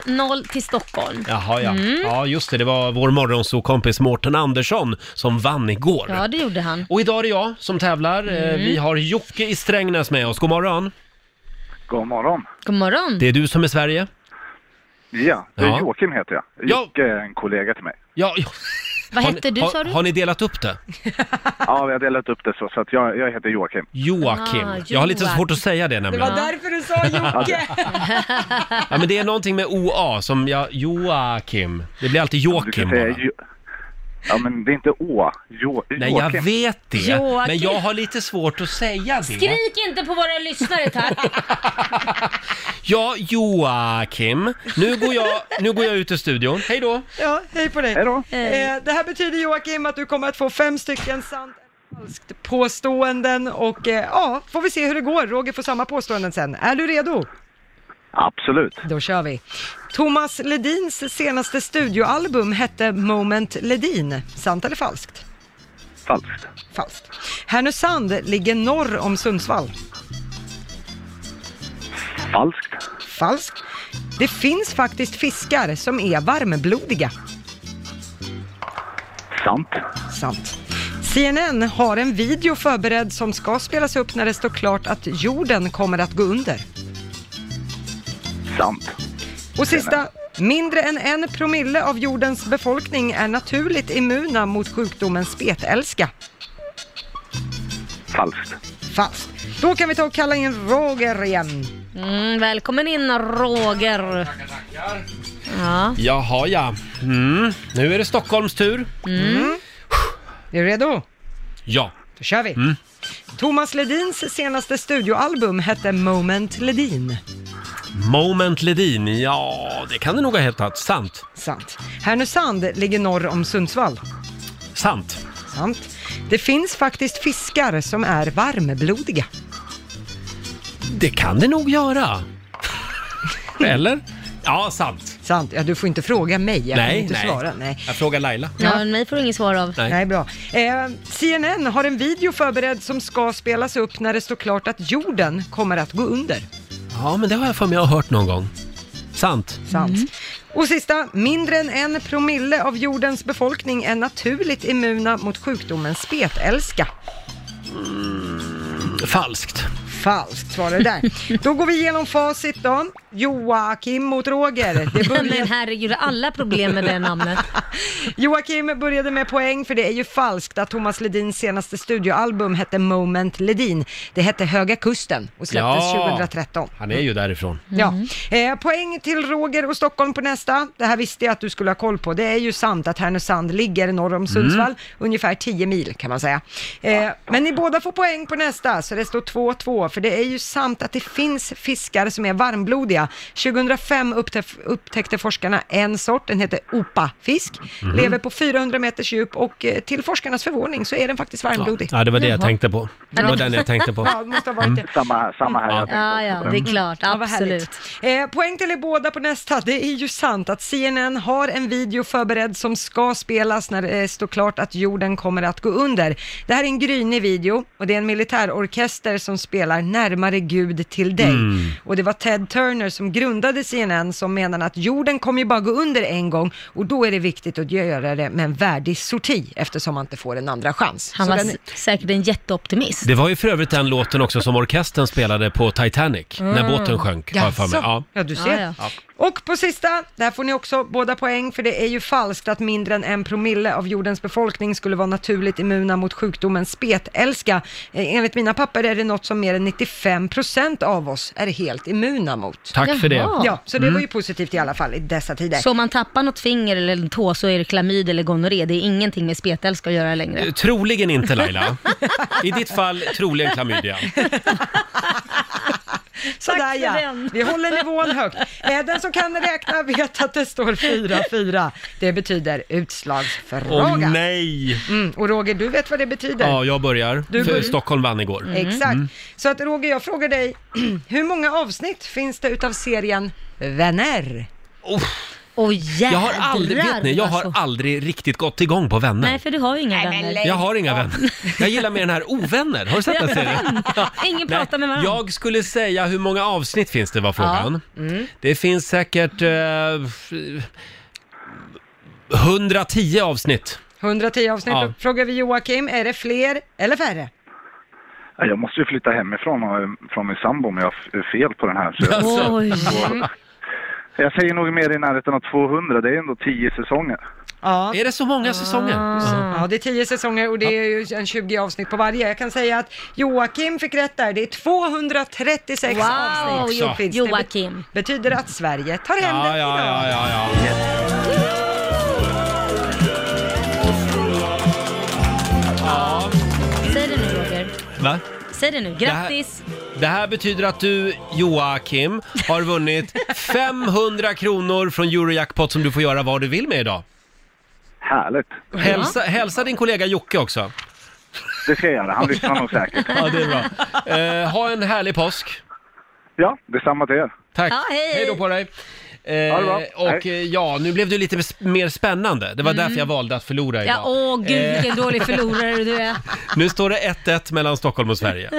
Speaker 2: 1-0 till Stockholm.
Speaker 1: Jaha, ja.
Speaker 2: Mm.
Speaker 1: Ja, just det. Det var vår morgonsokompis Mårten Andersson som vann igår.
Speaker 2: Ja, det gjorde han.
Speaker 1: Och idag är det jag som tävlar. Eh,
Speaker 2: Mm.
Speaker 1: Vi har Jocke i Strängnäs med oss. God morgon.
Speaker 15: God morgon.
Speaker 2: God morgon.
Speaker 1: Det är du som är Sverige.
Speaker 15: Ja, det är
Speaker 1: Ja.
Speaker 15: Joakim heter jag. Jocke är en kollega till mig.
Speaker 1: Ja, ja.
Speaker 2: Vad
Speaker 1: Har ni-
Speaker 2: hette du,
Speaker 1: har,
Speaker 2: sa du?
Speaker 1: Har ni delat upp det?
Speaker 15: Ja, vi har delat upp det så, så att jag, jag heter Joakim.
Speaker 1: Joakim.
Speaker 2: Ah,
Speaker 1: Jag har lite
Speaker 2: Joakim.
Speaker 1: svårt att säga det nämligen.
Speaker 3: därför du sa
Speaker 15: Jocke.
Speaker 1: Ja, men det är någonting med OA som jag... Joakim. Det blir alltid Joakim bara.
Speaker 15: Ja, men det är inte Å. Jo,
Speaker 1: Nej, jag
Speaker 15: Joakim.
Speaker 1: vet det.
Speaker 2: Joakim.
Speaker 1: Men jag har lite svårt att säga det.
Speaker 2: Skrik inte på våra lyssnare tack.
Speaker 1: Ja, Joakim. Nu går jag, nu går jag ut ur studion. Hej då!
Speaker 3: Ja, hej på dig.
Speaker 1: Hej då.
Speaker 3: Eh, det här betyder Joakim att du kommer att få fem stycken sant eller falskt påståenden och eh, ja, får vi se hur det går. Roger får samma påståenden sen. Är du redo?
Speaker 15: Absolut.
Speaker 3: Då kör vi. Thomas Ledins senaste studioalbum hette Moment Ledin. Sant eller falskt?
Speaker 15: Falskt.
Speaker 3: Falskt. Härnösand ligger norr om Sundsvall.
Speaker 15: Falskt.
Speaker 3: Falskt. Det finns faktiskt fiskar som är varmblodiga.
Speaker 15: Sant.
Speaker 3: Sant. CNN har en video förberedd som ska spelas upp när det står klart att jorden kommer att gå under.
Speaker 15: Sant.
Speaker 3: Och sista, mindre än en promille av jordens befolkning är naturligt immuna mot sjukdomen spetälska.
Speaker 15: Falskt.
Speaker 3: Falskt. Då kan vi ta och kalla in Roger igen.
Speaker 2: Mm, välkommen in Roger. Ja.
Speaker 1: Jaha, ja. Mm. Nu är det Stockholms tur.
Speaker 3: Mm. Är du redo?
Speaker 1: Ja. Mm.
Speaker 3: Då kör vi. Thomas Ledins senaste studioalbum hette Moment Ledin.
Speaker 1: Moment Ledin. Ja, det kan det nog ha hetat. Sant.
Speaker 3: Sant. Härnösand ligger norr om Sundsvall.
Speaker 1: Sant.
Speaker 3: Sant. Det finns faktiskt fiskar som är varmblodiga.
Speaker 1: Det kan det nog göra. Eller? Ja, sant.
Speaker 3: Sant. Ja, du får inte fråga mig. Jag kan
Speaker 1: nej,
Speaker 3: inte
Speaker 1: nej.
Speaker 3: svara. Nej.
Speaker 1: Jag frågar Laila.
Speaker 2: Ja, men mig får du inget svar av.
Speaker 1: Nej.
Speaker 3: Nej, bra. Eh, CNN har en video förberedd som ska spelas upp när det står klart att jorden kommer att gå under.
Speaker 1: Ja, men det har jag för mig jag har hört någon gång. Sant.
Speaker 3: Sant. Och sista, mindre än en promille av jordens befolkning är naturligt immuna mot sjukdomen spetälska.
Speaker 1: Mm, Falskt.
Speaker 3: Falskt var det där. Då går vi igenom facit då. Joakim mot Roger. Det
Speaker 2: Men herregud, alla problem med det namnet.
Speaker 3: Joakim började med poäng, för det är ju falskt att Thomas Ledins senaste studioalbum hette Moment Ledin. Det hette Höga Kusten och släpptes
Speaker 1: Ja.
Speaker 3: 2013.
Speaker 1: Han är ju därifrån.
Speaker 3: Ja. Eh, poäng till Roger och Stockholm på nästa. Det här visste jag att du skulle ha koll på. Det är ju sant att Härnösand ligger norr
Speaker 1: Mm.
Speaker 3: om Sundsvall, ungefär 10 mil kan man säga. Eh, men ni båda får poäng på nästa, så det står 2-2, för det är ju sant att det finns fiskar som är varmblodiga. 2005 upptäf- upptäckte forskarna en sort, den heter opafisk,
Speaker 1: Mhm.
Speaker 3: lever på 400 meters djup och eh, till forskarnas förvåning så är den faktiskt varmblodig.
Speaker 1: Ja, det var det jag tänkte på. Det var den jag tänkte på.
Speaker 3: Ja, det måste ha varit det.
Speaker 15: Samma här. Samma här. Jag tänkte
Speaker 2: Ja,
Speaker 15: också på
Speaker 2: ja, det är klart.
Speaker 3: Ja, vad
Speaker 2: Absolut.
Speaker 3: härligt. Eh, poäng till er båda på nästa. Det är ju sant att CNN har en video förberedd som ska spelas när det står klart att jorden kommer att gå under. Det här är en grynig video och det är en militärorkester som spelar Närmare Gud till dig.
Speaker 16: Mm.
Speaker 3: Och det var Ted Turner som grundade CNN som menade att jorden kommer ju bara gå under en gång och då är det viktigt att göra det med en värdig sorti eftersom man inte får en andra chans.
Speaker 2: Han
Speaker 3: Så
Speaker 2: var
Speaker 3: den-
Speaker 2: s- säkert en jätteoptimist.
Speaker 1: Det var ju för övrigt den låten också som orkestern spelade på Titanic, när
Speaker 3: Mm.
Speaker 1: båten sjönk, har jag för mig.
Speaker 3: Jaså? Ja, du ser.
Speaker 2: Ja,
Speaker 3: Och på sista, där får ni också båda poäng, för det är ju falskt att mindre än en promille av jordens befolkning skulle vara naturligt immuna mot sjukdomen spetälska. Eh, Enligt mina papper är det något som mer än 95 procent av oss är helt immuna mot.
Speaker 1: Tack för det. Jaha.
Speaker 3: Ja, så det
Speaker 1: Mm.
Speaker 3: var ju positivt i alla fall i dessa tider.
Speaker 2: Så om man tappar något finger eller en tå så är det klamyd eller gonorré. Det är ingenting med spetälska att göra längre.
Speaker 1: Eh, Troligen inte Laila. I ditt fall troligen klamydia.
Speaker 3: Sådär ja, vi håller nivån högt. Eh, Den som kan räkna vet att det står 4-4. Det betyder
Speaker 1: Åh
Speaker 3: utslagsfråga.
Speaker 1: nej!
Speaker 3: Mm, och Roger, du vet vad det betyder?
Speaker 1: Ja, jag börjar.
Speaker 3: Du
Speaker 1: För
Speaker 3: börjar.
Speaker 1: Stockholm vann igår.
Speaker 3: Exakt.
Speaker 1: Mm.
Speaker 3: Så att Roger, jag frågar dig, hur många avsnitt finns det utav serien Vänner?
Speaker 1: Oh.
Speaker 2: Och
Speaker 1: Jag har aldrig, vet ni, jag har
Speaker 3: alltså.
Speaker 1: aldrig riktigt gått igång på vänner.
Speaker 2: Nej, för du har ju inga vänner.
Speaker 1: Jag har inga vänner. Jag gillar mer den här ovänner. Har du sett den serien?
Speaker 2: Ingen
Speaker 1: Nej,
Speaker 2: pratar med varandra.
Speaker 1: Jag skulle säga hur många avsnitt finns det var frågan.
Speaker 2: Ja. Mm.
Speaker 1: Det finns säkert eh, f- 110 avsnitt.
Speaker 3: 110 avsnitt.
Speaker 1: Ja.
Speaker 3: Då Frågar vi Joakim, är det fler eller färre?
Speaker 15: Ja, Jag måste ju flytta hemifrån och, från min sambo om jag har f- fel på den här. Så jag,
Speaker 1: Alltså.
Speaker 15: Så- Jag säger nog mer i närheten av 200, det är ändå 10 säsonger.
Speaker 3: Ja.
Speaker 1: Är det så många säsonger?
Speaker 3: Ja, det är tio säsonger och det är ju en 20 avsnitt på varje. Jag kan säga att Joakim fick rätt där. Det är 236
Speaker 2: Wow,
Speaker 3: avsnitt som
Speaker 2: Jo-
Speaker 3: finns. Det
Speaker 2: Joakim.
Speaker 3: betyder att Sverige tar hem
Speaker 1: Ja,
Speaker 3: den
Speaker 1: ja,
Speaker 3: idag.
Speaker 1: ja, ja, ja.
Speaker 2: Säg det nu Roger.
Speaker 1: Va?
Speaker 2: Säg det nu. Grattis!
Speaker 1: Det här betyder att du, Joakim, har vunnit 500 kronor från Eurojackpot som du får göra vad du vill med idag.
Speaker 15: Härligt.
Speaker 1: Hälsa, hälsa din kollega Jocke också.
Speaker 15: Det ska jag göra, han lyssnar nog säkert.
Speaker 1: Ja, det är bra. Eh, ha en härlig påsk.
Speaker 15: Ja, detsamma till er.
Speaker 1: Tack.
Speaker 15: Ja, hej.
Speaker 1: då på dig. Eh,
Speaker 15: Ha det bra.
Speaker 1: och eh, ja, nu blev det lite sp- mer spännande. Det var
Speaker 15: Mm.
Speaker 1: därför jag valde att förlora idag.
Speaker 2: Ja, åh gud
Speaker 1: Eh.
Speaker 2: vilken dålig förlorare du är.
Speaker 1: Nu står det 1-1 mellan Stockholm och Sverige.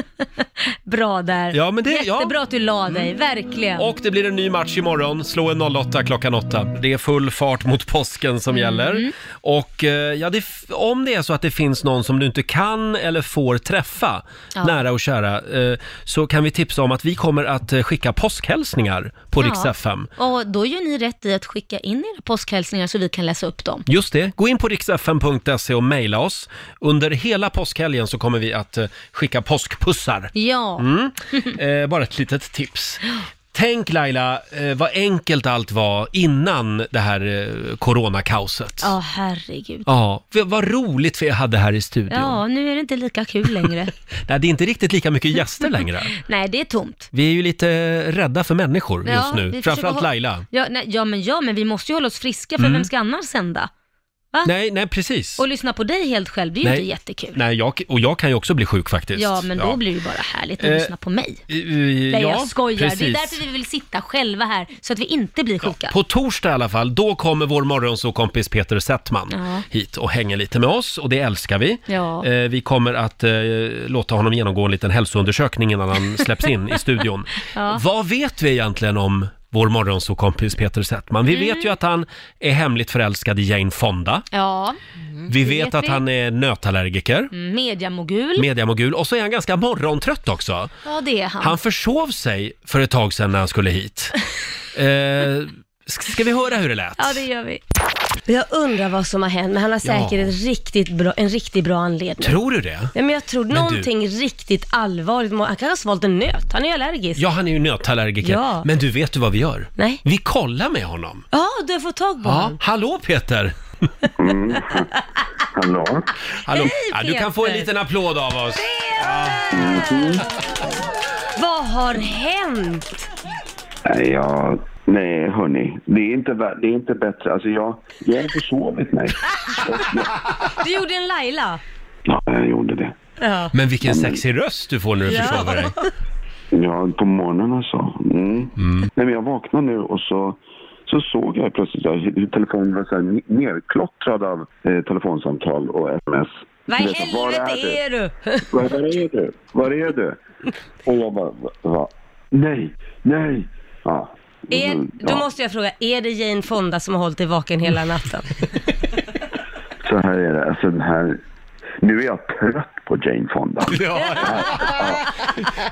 Speaker 2: Bra där.
Speaker 1: Ja, men det- ja.
Speaker 2: Jättebra att du la dig, verkligen.
Speaker 1: Och det blir en ny match imorgon. Slå en 08 klockan 8. Det är full fart mot påsken som gäller. Och eh, ja, det, f- om det är så att det finns någon som du inte kan eller får träffa,
Speaker 16: Ja.
Speaker 1: nära och kära, eh, så kan vi tipsa om att vi kommer att eh, skicka påskhälsningar på Rix FM.
Speaker 2: Och då gör ni rätt i att skicka in era påskhälsningar så vi kan läsa upp dem.
Speaker 1: Just det, gå in på riksfm.se och mejla oss. Under hela påskhelgen så kommer vi att eh, skicka påskpussar.
Speaker 2: Ja.
Speaker 1: Mm. Eh, bara ett litet tips. Tänk Laila, eh, vad enkelt allt var innan det här eh, coronakaoset.
Speaker 2: Ja, herregud.
Speaker 1: Ja, v- vad roligt vi hade här i studion.
Speaker 2: Ja, nu är det inte lika kul längre.
Speaker 1: Nej, det är inte riktigt lika mycket gäster längre.
Speaker 2: nej, det är tomt.
Speaker 1: Vi är ju lite rädda för människor
Speaker 2: Ja,
Speaker 1: just
Speaker 2: vi
Speaker 1: nu.
Speaker 2: försöker
Speaker 1: Framförallt
Speaker 2: hå-
Speaker 1: Laila.
Speaker 2: Ja, nej, ja, men ja, men vi måste ju hålla oss friska för
Speaker 1: Mm.
Speaker 2: vem ska annars sända? Va?
Speaker 1: Nej, nej precis.
Speaker 2: Och lyssna på dig helt själv, det är ju
Speaker 1: Nej.
Speaker 2: inte jättekul.
Speaker 1: Nej, jag, och jag kan ju också bli sjuk faktiskt.
Speaker 2: Ja, men då blir det ju bara härligt att
Speaker 1: Eh,
Speaker 2: lyssna på mig.
Speaker 1: Nej,
Speaker 2: Nej, jag skojar. Det är därför vi vill sitta själva här, så att vi inte blir sjuka.
Speaker 1: På torsdag i alla fall, då kommer vår morgonsåkompis Peter Settman
Speaker 2: Ja.
Speaker 1: hit och hänger lite med oss och det älskar vi.
Speaker 2: Ja.
Speaker 1: Eh, vi kommer att eh, låta honom genomgå en liten hälsoundersökning innan han släpps in i studion.
Speaker 2: Ja.
Speaker 1: Vad vet vi egentligen om vår morgonsåkompis Peter Settman? Vi
Speaker 2: Mm.
Speaker 1: vet ju att han är hemligt förälskad i Jane Fonda.
Speaker 2: Ja.
Speaker 1: Vi vet, att han är nötallergiker,
Speaker 2: Mm, Mediamogul.
Speaker 1: mediamogul och så är han ganska morgontrött också.
Speaker 2: Ja, det är han.
Speaker 1: Han försov sig för ett tag sedan när han skulle hit. Eh, ska vi höra hur det lät?
Speaker 2: Ja, det gör vi.
Speaker 13: Jag undrar vad som har hänt, men han har
Speaker 1: Ja.
Speaker 13: säkert ett riktigt bra, en riktigt bra anledning.
Speaker 1: Tror du det?
Speaker 13: Ja, men jag tror
Speaker 1: Men du-
Speaker 13: någonting riktigt allvarligt. Han kanske har svalt en nöt. Han är ju allergisk.
Speaker 1: Ja, han är ju nötallergiker.
Speaker 13: Ja.
Speaker 1: Men du, vet du vad vi gör?
Speaker 13: Nej.
Speaker 1: Vi kollar med honom.
Speaker 13: Ja, du har fått tag på
Speaker 1: Ja,
Speaker 13: honom.
Speaker 1: hallå Peter!
Speaker 10: Hallå?
Speaker 1: hallå.
Speaker 13: Hej,
Speaker 1: ja, du kan få en
Speaker 13: Peter.
Speaker 1: liten applåd av oss.
Speaker 13: Vad har hänt?
Speaker 10: Nej, jag... Nej, hörni. Det är inte, vä- det är inte bättre. Alltså, jag, jag har försovit mig.
Speaker 13: Du gjorde en Laila.
Speaker 10: Ja, jag gjorde det.
Speaker 13: Ja.
Speaker 1: Men vilken sexig röst du får när du
Speaker 13: Ja.
Speaker 1: försover dig.
Speaker 10: Ja, på morgonen alltså. Mm. Nej, men jag vaknade nu och så, så såg jag plötsligt att hur telefonen var så här n- nerklottrad av eh, telefonsamtal och sms.
Speaker 13: Vad i
Speaker 10: Du vet,
Speaker 13: helvete är du?
Speaker 10: Var, var är du? Var är du? Och jag bara, va, va? nej, nej. Ja.
Speaker 13: Är,
Speaker 10: Mm,
Speaker 13: då
Speaker 10: ja.
Speaker 13: måste jag fråga, är det Jane Fonda som har hållit dig vaken hela natten?
Speaker 10: Så här är det, alltså den här... Nu är jag trött på Jane Fonda.
Speaker 1: Ja.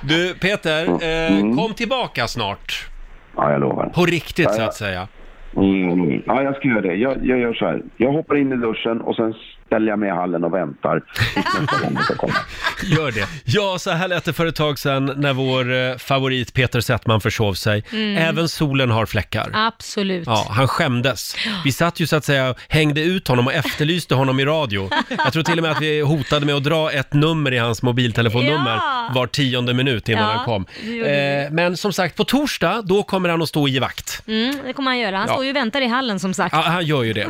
Speaker 1: Du, Peter, eh, kom tillbaka snart.
Speaker 10: Ja, jag lovar.
Speaker 1: På riktigt
Speaker 10: Ja,
Speaker 1: så
Speaker 10: ja.
Speaker 1: att säga.
Speaker 10: Mm. Ja, jag ska göra det. Jag, jag gör så här. Jag hoppar in i duschen och sen ställer jag mig i hallen och väntar.
Speaker 1: Gör det. Ja, så här lät det för ett tag sedan när vår eh, favorit Peter Settman försov sig.
Speaker 2: Mm.
Speaker 1: Även solen har fläckar.
Speaker 2: Absolut.
Speaker 1: Ja, han skämdes. Vi satt ju så att säga hängde ut honom och efterlyste honom i radio. Jag tror till och med att vi hotade med att dra ett nummer i hans mobiltelefonnummer
Speaker 2: Ja.
Speaker 1: var tionde minut innan
Speaker 2: Ja,
Speaker 1: han kom.
Speaker 2: det gjorde vi.
Speaker 1: Eh, men som sagt, på torsdag, då kommer han att stå i vakt.
Speaker 2: Mm, det kommer han göra. Han
Speaker 1: Ja.
Speaker 2: står ju och väntar i hallen som sagt.
Speaker 1: Ja,
Speaker 2: Ja,
Speaker 1: han gör ju det.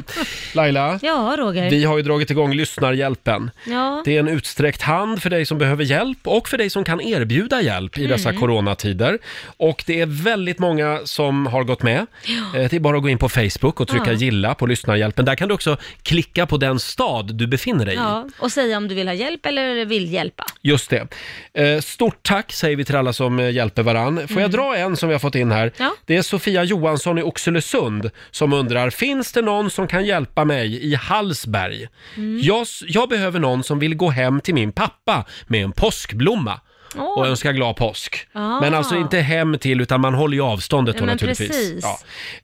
Speaker 1: Laila,
Speaker 2: Roger.
Speaker 1: vi har ju dragit igång Lyssnarhjälpen.
Speaker 2: Ja.
Speaker 1: Det är en utsträckt hand för dig som behöver hjälp och för dig som kan erbjuda hjälp i dessa
Speaker 2: Mm.
Speaker 1: coronatider. Och det är väldigt många som har gått med. Eh, Det är bara att gå in på Facebook och trycka
Speaker 2: Ja.
Speaker 1: gilla på lyssnarhjälpen. Där kan du också klicka på den stad du befinner dig i.
Speaker 2: Ja, och säga om du vill ha hjälp eller vill hjälpa.
Speaker 1: Just det. Eh, Stort tack säger vi till alla som eh, hjälper varann. Får jag
Speaker 2: Mm.
Speaker 1: dra en som vi har fått in här?
Speaker 2: Ja.
Speaker 1: Det är Sofia Johansson i Oxelösund som undrar, finns det någon som kan hjälpa mig i Hallsberg?
Speaker 2: Mm.
Speaker 1: Jag, s- jag behöver någon som vill gå hem till min pappa med en påskblomma. och önskar glad påsk.
Speaker 2: Ah.
Speaker 1: Men alltså inte hem till utan man håller ju avståndet då
Speaker 2: Ja, men
Speaker 1: naturligtvis.
Speaker 2: precis.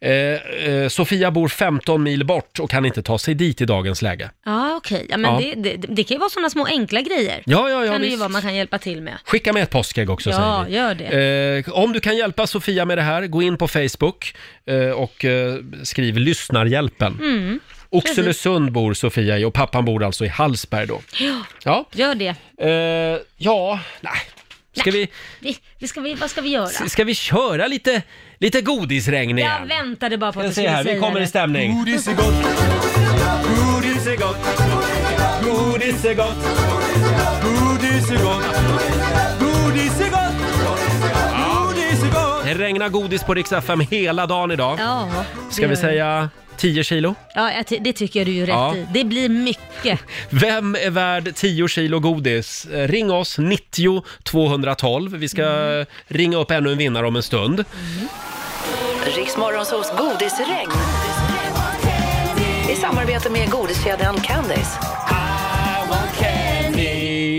Speaker 1: Ja. Eh, eh, Sofia bor 15 mil bort och kan inte ta sig dit i dagens läge.
Speaker 2: Ja, okej. Ja, men
Speaker 1: Ja.
Speaker 2: Det, det, det kan ju vara sådana små enkla grejer.
Speaker 1: Ja, ja, ja,
Speaker 2: kan det ju
Speaker 1: visst.
Speaker 2: vara man kan hjälpa till med.
Speaker 1: Skicka med ett påskägg också
Speaker 2: ja,
Speaker 1: säger vi.
Speaker 2: gör det.
Speaker 1: Eh, om du kan hjälpa Sofia med det här, gå in på Facebook eh, och eh, skriv lyssnarhjälpen.
Speaker 2: Mm. Precis.
Speaker 1: Oxelösund bor Sofia i och pappan bor alltså i Hallsberg då.
Speaker 2: Ja,
Speaker 1: Ja,
Speaker 2: gör det.
Speaker 1: eh, ja, nej. Ska vi,
Speaker 2: Vi, vi ska vi, vad ska vi göra?
Speaker 1: s- ska vi köra lite, lite godisregn igen?
Speaker 2: Jag väntade bara på att
Speaker 1: Jag
Speaker 2: du
Speaker 1: ser
Speaker 2: skulle
Speaker 1: här,
Speaker 2: säga
Speaker 1: vi kommer i
Speaker 2: det.
Speaker 1: stämning.
Speaker 4: Godis är gott, godis är gott, godis är gott, godis är gott, godis är gott, godis är gott.
Speaker 1: Det regnar godis på Rix FM hela dagen idag.
Speaker 2: Ja, det
Speaker 1: Ska
Speaker 2: gör
Speaker 1: vi
Speaker 2: det.
Speaker 1: säga 10 kilo?
Speaker 2: Ja, jag ty- det tycker jag du gör rätt
Speaker 1: Ja.
Speaker 2: i. Det blir mycket.
Speaker 1: Vem är värd 10 kilo godis? Eh, Ring oss, 90 212. Vi ska eh, ringa upp ännu en vinnare om en stund.
Speaker 6: Riksmorgonsols godisregn. I samarbete med godiskedjan Candice.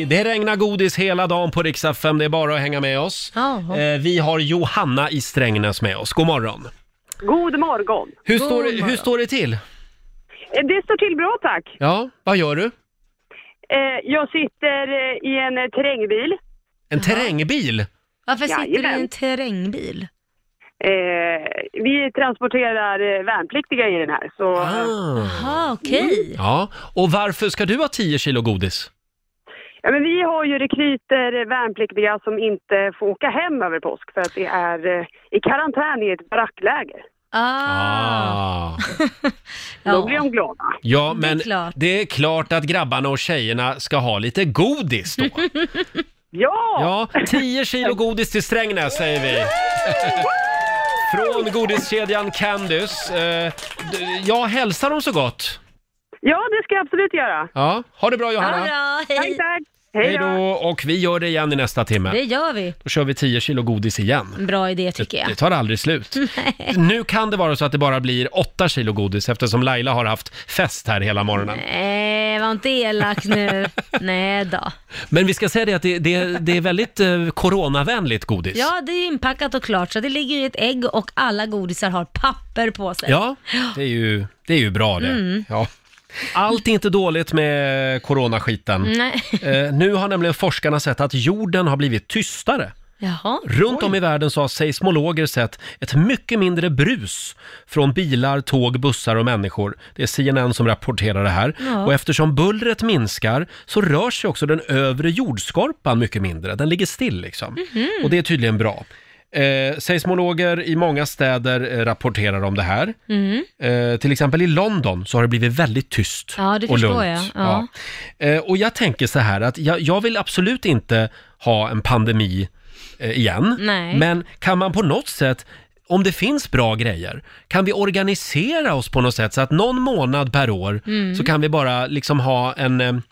Speaker 1: Det regnar godis hela dagen på Rix FM. Det är bara att hänga med oss. Eh, Vi har Johanna i Strängnäs med oss. God morgon.
Speaker 16: God morgon.
Speaker 1: Hur, står, det, hur står det till?
Speaker 16: Eh, Det står till bra tack.
Speaker 1: Ja, vad gör du?
Speaker 16: Eh, Jag sitter eh, i en eh, terrängbil.
Speaker 1: En terrängbil?
Speaker 2: Varför sitter du
Speaker 16: Jajamän.
Speaker 2: i en terrängbil?
Speaker 16: Eh, Vi transporterar eh, värnpliktiga i den här. Så...
Speaker 1: Ah.
Speaker 16: Mm.
Speaker 2: Jaha, okej.
Speaker 1: Ja, och varför ska du ha 10 kilo godis?
Speaker 16: Ja, men vi har ju rekryter, eh, värnpliktiga, som inte får åka hem över påsk för att det är eh, i karantän i ett barackläger.
Speaker 1: Ah.
Speaker 16: Då blir de glada.
Speaker 1: Ja, men
Speaker 16: klart.
Speaker 1: det är klart att grabbarna och tjejerna ska ha lite godis då. Ja! Ja, 10 kilo godis till Strängnäs säger vi. Från godiskedjan Candice. Eh, d- Ja, hälsa dem så gott.
Speaker 16: Ja, det ska jag absolut göra.
Speaker 1: Ja, ha det bra Johanna.
Speaker 16: Tack, tack.
Speaker 1: Hej då! Och vi gör det igen i nästa timme.
Speaker 2: Det gör vi.
Speaker 1: Då kör vi 10 kilo godis igen.
Speaker 2: En bra idé tycker jag.
Speaker 1: Det tar aldrig slut. Nu kan det vara så att det bara blir 8 kilo godis eftersom Laila har haft fest här hela morgonen.
Speaker 2: Nej, Eh, var inte elak nu. Nej då.
Speaker 1: Men vi ska säga det att det, det, det är väldigt eh, coronavänligt godis.
Speaker 2: Ja, det är ju inpackat och klart, så det ligger ju i ett ägg och alla godisar har papper på sig.
Speaker 1: Ja, det är ju, det är ju bra det.
Speaker 2: Mm.
Speaker 1: Ja. Allt är inte dåligt med coronaskiten.
Speaker 2: Nej.
Speaker 1: Eh, nu har nämligen forskarna sett att jorden har blivit tystare.
Speaker 2: Jaha.
Speaker 1: Runt om i världen så har seismologer sett ett mycket mindre brus från bilar, tåg, bussar och människor. Det är CNN som rapporterar det här.
Speaker 4: Ja.
Speaker 1: Och eftersom bullret minskar så rör sig också den övre jordskorpan mycket mindre. Den ligger still liksom.
Speaker 4: Mhm.
Speaker 1: Och det är tydligen bra. Eh, seismologer i många städer eh, rapporterar om det här.
Speaker 2: Mm.
Speaker 1: Eh, till exempel i London så har det blivit väldigt tyst
Speaker 2: Ja, det
Speaker 1: och
Speaker 2: förstår
Speaker 1: lugnt.
Speaker 2: jag. Ja.
Speaker 1: Eh, och jag tänker så här att jag, jag vill absolut inte ha en pandemi eh, igen.
Speaker 4: Nej.
Speaker 1: Men kan man på något sätt om det finns bra grejer, kan vi organisera oss på något sätt så att någon månad per år
Speaker 2: Mm.
Speaker 1: så kan vi bara liksom ha en... eh, en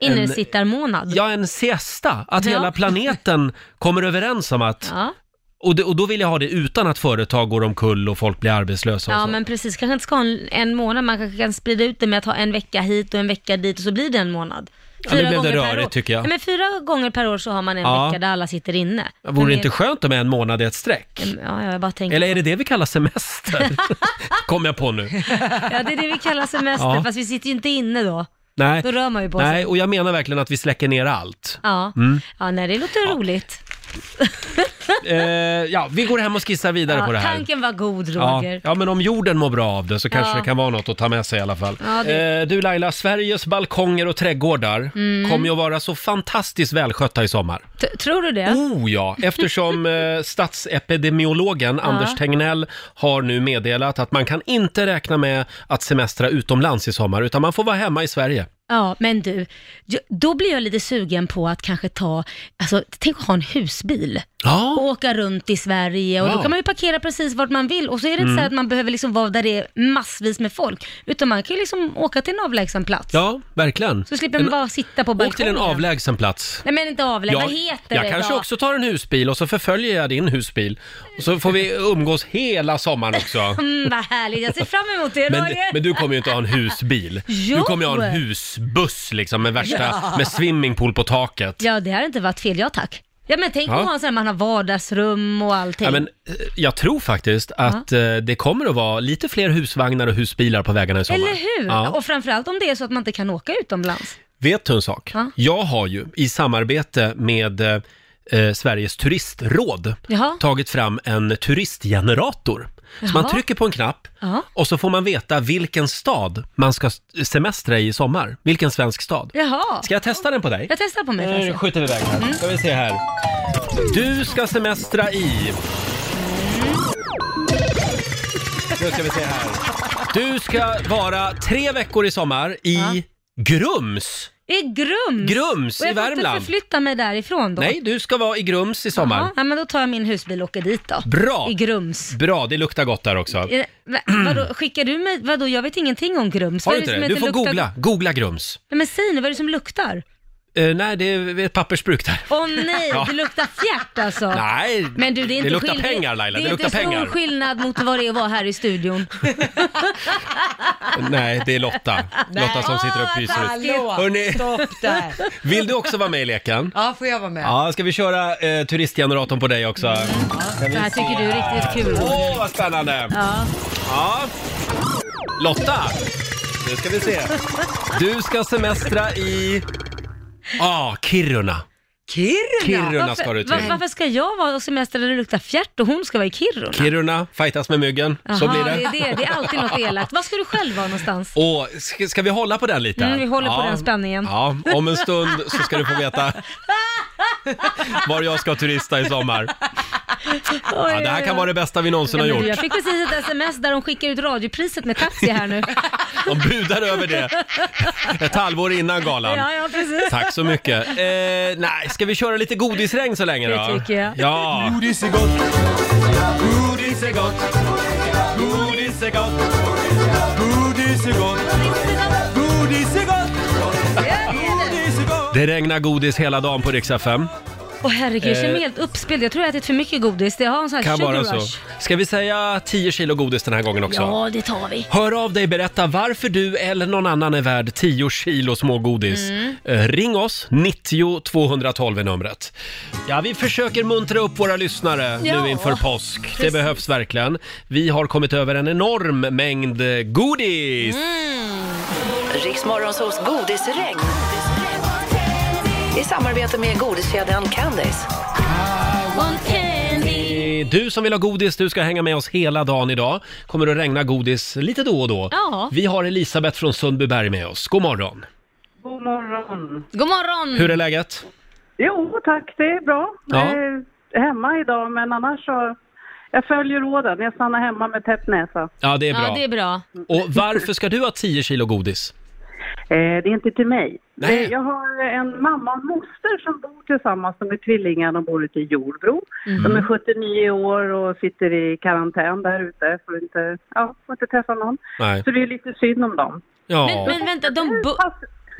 Speaker 2: Innesittarmånad.
Speaker 1: ja, en siesta. Att
Speaker 2: Ja.
Speaker 1: hela planeten kommer överens om att...
Speaker 2: Ja.
Speaker 1: Och, det, och då vill jag ha det utan att företag går omkull och folk blir arbetslösa och
Speaker 2: Ja,
Speaker 1: så.
Speaker 2: men precis. Kanske inte ska ha en, en månad, man kanske kan sprida ut det med att ha en vecka hit och en vecka dit och så blir det en månad.
Speaker 1: Ja, nu blev det
Speaker 2: gånger per
Speaker 1: rörigt,
Speaker 2: år.
Speaker 1: tycker jag.
Speaker 2: Nej, men fyra gånger per år så har man en
Speaker 1: Ja.
Speaker 2: vecka där alla sitter inne.
Speaker 1: Vore det
Speaker 2: Men Mm,
Speaker 1: inte skönt om en månad i ett streck?
Speaker 2: Ja, jag bara tänker.
Speaker 1: Eller är det det vi kallar semester? Kom jag på nu.
Speaker 2: Ja, det är det vi kallar semester,
Speaker 1: Ja.
Speaker 2: fast vi sitter ju inte inne då.
Speaker 1: Nej.
Speaker 2: Då rör man ju på
Speaker 1: Nej,
Speaker 2: sig.
Speaker 1: och jag menar verkligen att vi släcker ner allt.
Speaker 2: Ja.
Speaker 1: Mm.
Speaker 2: ja, nej det låter roligt.
Speaker 1: Eh, ja, vi går hem och skissar vidare
Speaker 2: Ja,
Speaker 1: på det här.
Speaker 2: tanken var god,
Speaker 1: Ja,
Speaker 2: Roger.
Speaker 1: ja, men om jorden mår bra av det så kanske
Speaker 2: Ja.
Speaker 1: det kan vara något att ta med sig i alla fall.
Speaker 2: Ja, det-
Speaker 1: eh, du Laila, Sveriges balkonger och trädgårdar
Speaker 2: Mm.
Speaker 1: kommer ju att vara så fantastiskt välskötta i sommar.
Speaker 2: T- Tror du det?
Speaker 1: Oh ja, eftersom eh, statsepidemiologen
Speaker 2: Ja.
Speaker 1: Anders Tegnell har nu meddelat att man kan inte räkna med att semestra utomlands i sommar, utan man får vara hemma i Sverige.
Speaker 2: Ja, men du, ju- då blir jag lite sugen på att kanske ta, alltså tänk att ha en husbil
Speaker 1: Ja.
Speaker 2: och åka runt i Sverige och
Speaker 1: Ja.
Speaker 2: då kan man ju parkera precis vart man vill och så är det
Speaker 1: Mm.
Speaker 2: inte så här att man behöver liksom vara där det är massvis med folk, utan man kan ju liksom åka till en avlägsen plats.
Speaker 1: Ja, verkligen.
Speaker 2: Så slipper man
Speaker 1: En-
Speaker 2: bara sitta på balkongen.
Speaker 1: Åk till en avlägsen plats.
Speaker 2: Nej men inte avlägsen,
Speaker 1: Jag-
Speaker 2: vad heter
Speaker 1: jag
Speaker 2: det
Speaker 1: kanske
Speaker 2: då?
Speaker 1: också tar en husbil och så förföljer jag din husbil. Och så får vi umgås hela sommaren också.
Speaker 2: Mm, vad härligt, jag ser fram emot det
Speaker 1: Men,
Speaker 2: Roger.
Speaker 1: men du kommer ju inte ha en husbil.
Speaker 2: Jo.
Speaker 1: Du kommer ju ha en husbuss liksom med värsta,
Speaker 2: Ja.
Speaker 1: med swimmingpool på taket.
Speaker 2: Ja, det har inte varit fel, ja tack. Ja men tänk
Speaker 1: Ja.
Speaker 2: om man, har så här, man har vardagsrum och allting.
Speaker 1: Ja, men, eh, jag tror faktiskt att eh, det kommer att vara lite fler husvagnar och husbilar på vägarna i sommar.
Speaker 2: Eller hur?
Speaker 1: Ja.
Speaker 2: Och framförallt om det är så att man inte kan åka utomlands.
Speaker 1: Vet du en sak?
Speaker 2: Ja.
Speaker 1: Jag har ju i samarbete med eh, eh, Sveriges turistråd
Speaker 2: Jaha.
Speaker 1: tagit fram en turistgenerator. Så man
Speaker 2: Jaha.
Speaker 1: trycker på en knapp
Speaker 2: Ja.
Speaker 1: och så får man veta vilken stad man ska s- semestra i i sommar. Vilken svensk stad.
Speaker 2: Jaha.
Speaker 1: Ska jag testa den på dig?
Speaker 2: Jag testar Mm. på mig
Speaker 1: Nu
Speaker 2: får jag se.
Speaker 1: skjuter vi iväg här. Ska vi se här. Du ska semestra i...
Speaker 6: Mm.
Speaker 1: Nu ska vi se här. Du ska vara tre veckor i sommar i Grums.
Speaker 2: I Grums.
Speaker 1: Grums
Speaker 2: och
Speaker 1: i
Speaker 2: jag får
Speaker 1: Värmland.
Speaker 2: inte förflytta mig därifrån då.
Speaker 1: Nej, du ska vara i Grums i sommar.
Speaker 2: Ja, men då tar jag min husbil och åker dit då.
Speaker 1: Bra!
Speaker 2: I Grums.
Speaker 1: Bra, det luktar gott där också.
Speaker 2: Är det- va- Vadå, skickar du mig, vadå, jag vet ingenting om Grums.
Speaker 1: Har
Speaker 2: Vad
Speaker 1: du
Speaker 2: är
Speaker 1: inte
Speaker 2: som
Speaker 1: det?
Speaker 2: heter
Speaker 1: Du får
Speaker 2: luktar-
Speaker 1: googla. Googla Grums.
Speaker 2: Nej, men säg nu, vad är det som luktar?
Speaker 1: Eh, nej, det är ett pappersbruk där.
Speaker 2: Åh nej,
Speaker 1: Ja.
Speaker 2: det luktar fjärt alltså.
Speaker 1: Nej,
Speaker 2: men du, det, är
Speaker 1: det
Speaker 2: inte
Speaker 1: luktar
Speaker 2: skill-
Speaker 1: pengar, Laila,
Speaker 2: Det
Speaker 1: det
Speaker 2: är inte
Speaker 1: luktar
Speaker 2: stor
Speaker 1: pengar.
Speaker 2: skillnad mot vad det är att vara här i studion.
Speaker 1: Nej, det är Lotta. Lotta som sitter och pyser ut.
Speaker 17: Hallå,
Speaker 1: Hörrni,
Speaker 17: stopp där.
Speaker 1: vill du också vara med i leken?
Speaker 17: Ja, får jag vara med?
Speaker 1: Ja, ska vi köra eh, turistgeneratorn på dig också? Ska vi
Speaker 2: Det här
Speaker 1: se
Speaker 2: tycker du är
Speaker 1: här.
Speaker 2: riktigt kul.
Speaker 1: Åh, vad spännande!
Speaker 2: Ja.
Speaker 1: Ja. Lotta, nu ska vi se. Du ska semestra i... Ja, ah, Kiruna.
Speaker 17: Kiruna?
Speaker 1: Kiruna ska du
Speaker 2: Varför, va-
Speaker 1: till.
Speaker 2: varför ska jag vara och semester där det luktar fjärt och hon ska vara i Kiruna?
Speaker 1: Kiruna, fightas med myggen. så
Speaker 2: Jaha,
Speaker 1: blir det.
Speaker 2: Det är, det. det är alltid något elakt. Var ska du själv vara någonstans?
Speaker 1: Och ska, ska vi hålla på den lite?
Speaker 2: Mm, vi håller på den spänningen.
Speaker 1: Ja, om en stund så ska du få veta var jag ska turista i sommar. Ja, det här kan vara det bästa vi någonsin har
Speaker 2: Nej,
Speaker 1: gjort.
Speaker 2: men du, Jag fick precis ett sms där de skickar ut radiopriset med taxi här nu.
Speaker 1: De budar över det ett halvår innan galan.
Speaker 2: Ja, ja, precis.
Speaker 1: Tack så mycket. Eh, nej, ska vi köra lite godisregn så länge då?
Speaker 4: Det tycker jag.
Speaker 1: Ja.
Speaker 4: Godis är gott, godis är gott, godis är gott, godis är gott, godis är gott, godis är gott.
Speaker 1: Det regnar godis hela dagen på riksdag 5.
Speaker 2: Åh herregud, jag känner mig
Speaker 1: Eh.
Speaker 2: helt uppspelad. Jag tror jag har ätit för mycket godis. Det har en sån här
Speaker 1: Kan
Speaker 2: sugar
Speaker 1: vara
Speaker 2: rush.
Speaker 1: så. Ska vi säga 10 kilo godis den här gången också?
Speaker 2: Ja, det tar vi.
Speaker 1: Hör av dig, berätta varför du eller någon annan är värd 10 kilo smågodis.
Speaker 2: Mm.
Speaker 1: Eh, Ring oss, 90 212 är numret. Ja, vi försöker muntra upp våra lyssnare
Speaker 4: Ja,
Speaker 1: nu inför påsk. Det
Speaker 4: precis.
Speaker 1: behövs verkligen. Vi har kommit över en enorm mängd eh, godis.
Speaker 4: Mm.
Speaker 6: Riksmorgonsols godisregn. I samarbete med godiskedjan Candice.
Speaker 1: Ah. Eh, Du som vill ha godis, du ska hänga med oss hela dagen idag. Kommer att regna godis lite då och då.
Speaker 2: Ja.
Speaker 1: Vi har Elisabeth från Sundbyberg med oss. God morgon.
Speaker 2: God morgon. God morgon.
Speaker 1: Hur är läget?
Speaker 18: Jo, tack. Det är bra.
Speaker 1: Ja.
Speaker 18: Jag är hemma idag, men annars så... Jag följer råden. Jag stannar hemma med täppt näsa.
Speaker 1: Ja, det är bra.
Speaker 2: bra.
Speaker 1: Och varför ska du ha 10 kilo godis?
Speaker 18: Eh, det är inte till mig.
Speaker 1: Nej.
Speaker 18: Eh, Jag har en mamma och moster som bor tillsammans. De är tvillingar. De bor ute i Jordbro.
Speaker 19: Mm.
Speaker 18: De är 79 år och sitter i karantän där ute. Får inte, ja, får inte träffa någon.
Speaker 1: Nej.
Speaker 18: Så det är lite synd om dem.
Speaker 1: Ja.
Speaker 2: Men, men vänta, de, bo,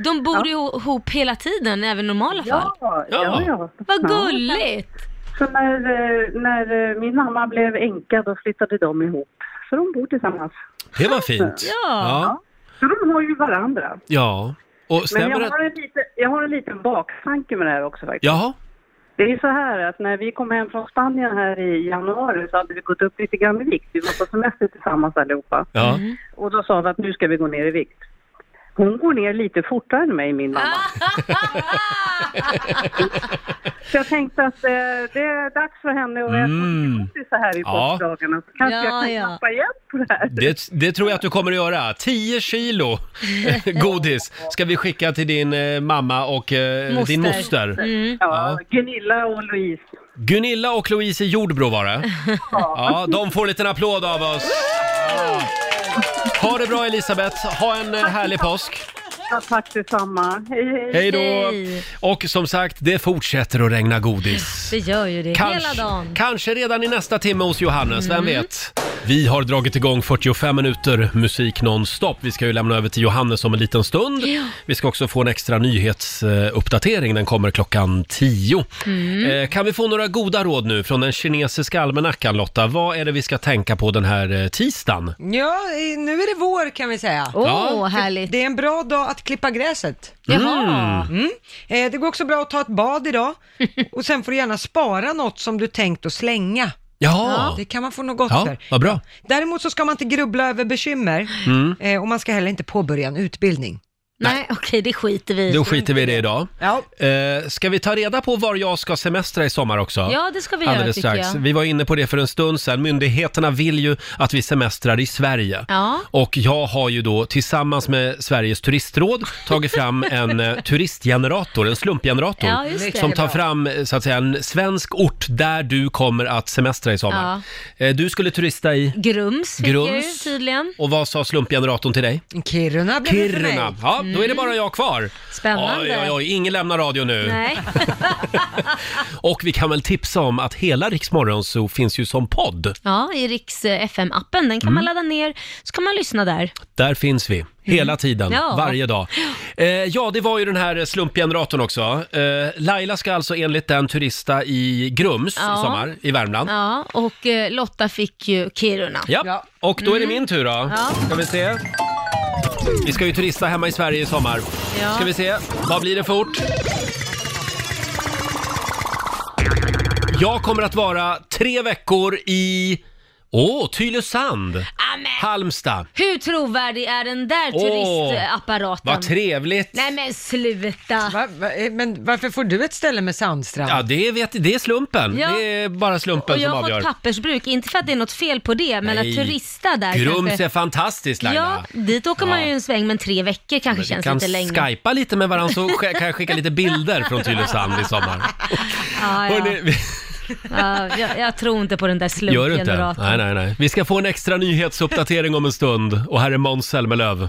Speaker 2: de bor ju ihop hela tiden, även i normala fall?
Speaker 18: Ja, ja, ja.
Speaker 2: Vad
Speaker 18: Ja.
Speaker 2: gulligt!
Speaker 18: Så när, eh, när eh, min mamma blev änka, då flyttade de ihop. Så de bor tillsammans.
Speaker 1: Det var fint. Ja.
Speaker 18: Så de har ju varandra.
Speaker 1: Ja. Och
Speaker 18: Men
Speaker 1: stämmer
Speaker 18: jag
Speaker 1: det?
Speaker 18: har, en liten, jag har en liten baktanke med det här också faktiskt.
Speaker 1: Jaha.
Speaker 18: Det är ju så här att när vi kom hem från Spanien här i januari så hade vi gått upp lite grann i vikt. Vi var på semester tillsammans allihopa.
Speaker 1: Ja.
Speaker 18: Och då sa vi att nu ska vi gå ner i vikt. Hon går ner lite fortare än mig, min mamma. så jag tänkte att eh, det är dags för henne att äta
Speaker 1: Mm.
Speaker 18: lite så här i
Speaker 1: Ja.
Speaker 18: påskdagarna. Så kanske
Speaker 2: Ja,
Speaker 18: jag kan
Speaker 2: ja.
Speaker 18: knappa igen på det här.
Speaker 1: Det, det tror jag att du kommer att göra. 10 kilo godis ska vi skicka till din eh, mamma och eh, din moster.
Speaker 14: Mm.
Speaker 18: Ja, Gunilla och Louise.
Speaker 1: Gunilla och Louise i Jordbro var det. Ja, de får en liten applåd av oss. Ja. Ha det bra Elisabeth, ha en eh, härlig påsk.
Speaker 18: Ja, tack detsamma. Hej, hej.
Speaker 1: Hej då! Och som sagt, det fortsätter att regna godis.
Speaker 2: Det gör ju det,
Speaker 1: Kanske-
Speaker 2: hela dagen.
Speaker 1: Kanske redan i nästa timme hos Johannes, vem vet? Vi har dragit igång 45 minuter musik nonstop. Vi ska ju lämna över till Johannes om en liten stund.
Speaker 4: Ja.
Speaker 1: Vi ska också få en extra nyhetsuppdatering. Den kommer klockan 10.
Speaker 4: Mm.
Speaker 1: Eh, Kan vi få några goda råd nu från den kinesiska almanackan Lotta? Vad är det vi ska tänka på den här eh, tisdagen?
Speaker 3: Ja, i- nu är det vår kan vi säga.
Speaker 1: Åh, Ja.
Speaker 3: härligt. Det är en bra dag att klippa gräset.
Speaker 1: Jaha.
Speaker 3: Mm. Eh, det går också bra att ta ett bad idag. Och sen får du gärna spara något som du tänkt att slänga.
Speaker 1: Ja.
Speaker 3: Det kan man få något gott
Speaker 1: Ja,
Speaker 3: för.
Speaker 1: vad bra.
Speaker 3: Däremot så ska man inte grubbla över bekymmer.
Speaker 1: Mm.
Speaker 3: Eh, och man ska heller inte påbörja en utbildning.
Speaker 2: Nej, okej, det skiter vi i.
Speaker 1: Då skiter vi i det idag.
Speaker 3: Ja.
Speaker 1: Eh, Ska vi ta reda på var jag ska semestra i sommar också?
Speaker 2: Ja, det ska vi göra,
Speaker 1: Alldeles
Speaker 2: tycker
Speaker 1: strax.
Speaker 2: jag.
Speaker 1: Vi var inne på det för en stund sedan. Myndigheterna vill ju att vi semestrar i Sverige.
Speaker 2: Ja.
Speaker 1: Och jag har ju då tillsammans med Sveriges turistråd tagit fram en eh, turistgenerator, en slumpgenerator.
Speaker 4: Ja, just det.
Speaker 1: Som tar
Speaker 4: Bra.
Speaker 1: fram eh, så att säga en svensk ort där du kommer att semestra i sommar. Eh, Du skulle turista i?
Speaker 2: Grums, fick jag ju
Speaker 1: Grums.
Speaker 2: tydligen.
Speaker 1: Och vad sa slumpgeneratorn till dig?
Speaker 3: Kiruna blev det för mig.
Speaker 1: Kiruna. Ja, då är det bara jag kvar.
Speaker 2: Mm. Spännande.
Speaker 1: Oj, oj, oj, ingen lämnar radio nu.
Speaker 2: Nej.
Speaker 1: Och vi kan väl tipsa om att hela Rix Morgonzoo finns ju som podd.
Speaker 2: Ja, i Riks FM-appen. Den kan
Speaker 1: Mm.
Speaker 2: man ladda ner, så kan man lyssna där.
Speaker 1: Där finns vi, hela tiden,
Speaker 2: Mm. Ja.
Speaker 1: varje dag. Eh, ja, det var ju den här slumpgeneratorn också. Eh, Laila ska alltså enligt den turista i Grums
Speaker 2: Ja.
Speaker 1: i sommar, i Värmland. Ja.
Speaker 2: Ja, och eh, Lotta fick ju Kiruna.
Speaker 1: och då är det
Speaker 2: Mm.
Speaker 1: min tur då.
Speaker 2: Ja.
Speaker 1: Ska vi se. Vi ska ju turista hemma i Sverige i sommar.
Speaker 2: Ja.
Speaker 1: Ska vi se, vad blir det för ort? Jag kommer att vara tre veckor i... Åh, Tylösand! Halmstad.
Speaker 2: Hur trovärdig är den där
Speaker 1: Åh,
Speaker 2: turistapparaten?
Speaker 1: Vad trevligt!
Speaker 2: Nej men sluta!
Speaker 3: eh, men varför får du ett ställe med sandstrand?
Speaker 1: Ja, det, vet, det är slumpen.
Speaker 2: Ja.
Speaker 1: Det är bara
Speaker 2: Och
Speaker 1: slumpen
Speaker 2: jag
Speaker 1: som
Speaker 2: har
Speaker 1: avgör.
Speaker 2: fått pappersbruk, inte för att det är något fel på det, men
Speaker 1: Nej.
Speaker 2: att turista där
Speaker 1: Grums
Speaker 2: kanske...
Speaker 1: är fantastiskt Laila.
Speaker 2: Ja, dit åker man
Speaker 1: Ja.
Speaker 2: ju en sväng, men tre veckor kanske
Speaker 1: Vi
Speaker 2: känns
Speaker 1: kan
Speaker 2: lite längre.
Speaker 1: skypa lite med varandra så sk- kan jag skicka lite bilder från Tylösand i sommar.
Speaker 2: Ja, ja.
Speaker 1: Hörrni, vi-
Speaker 2: ja, jag, jag tror inte på den där
Speaker 1: Gör du inte?
Speaker 2: slumpgeneratorn.
Speaker 1: Nej, nej, nej. Vi ska få en extra nyhetsuppdatering om en stund och här är Måns Zelmerlöw.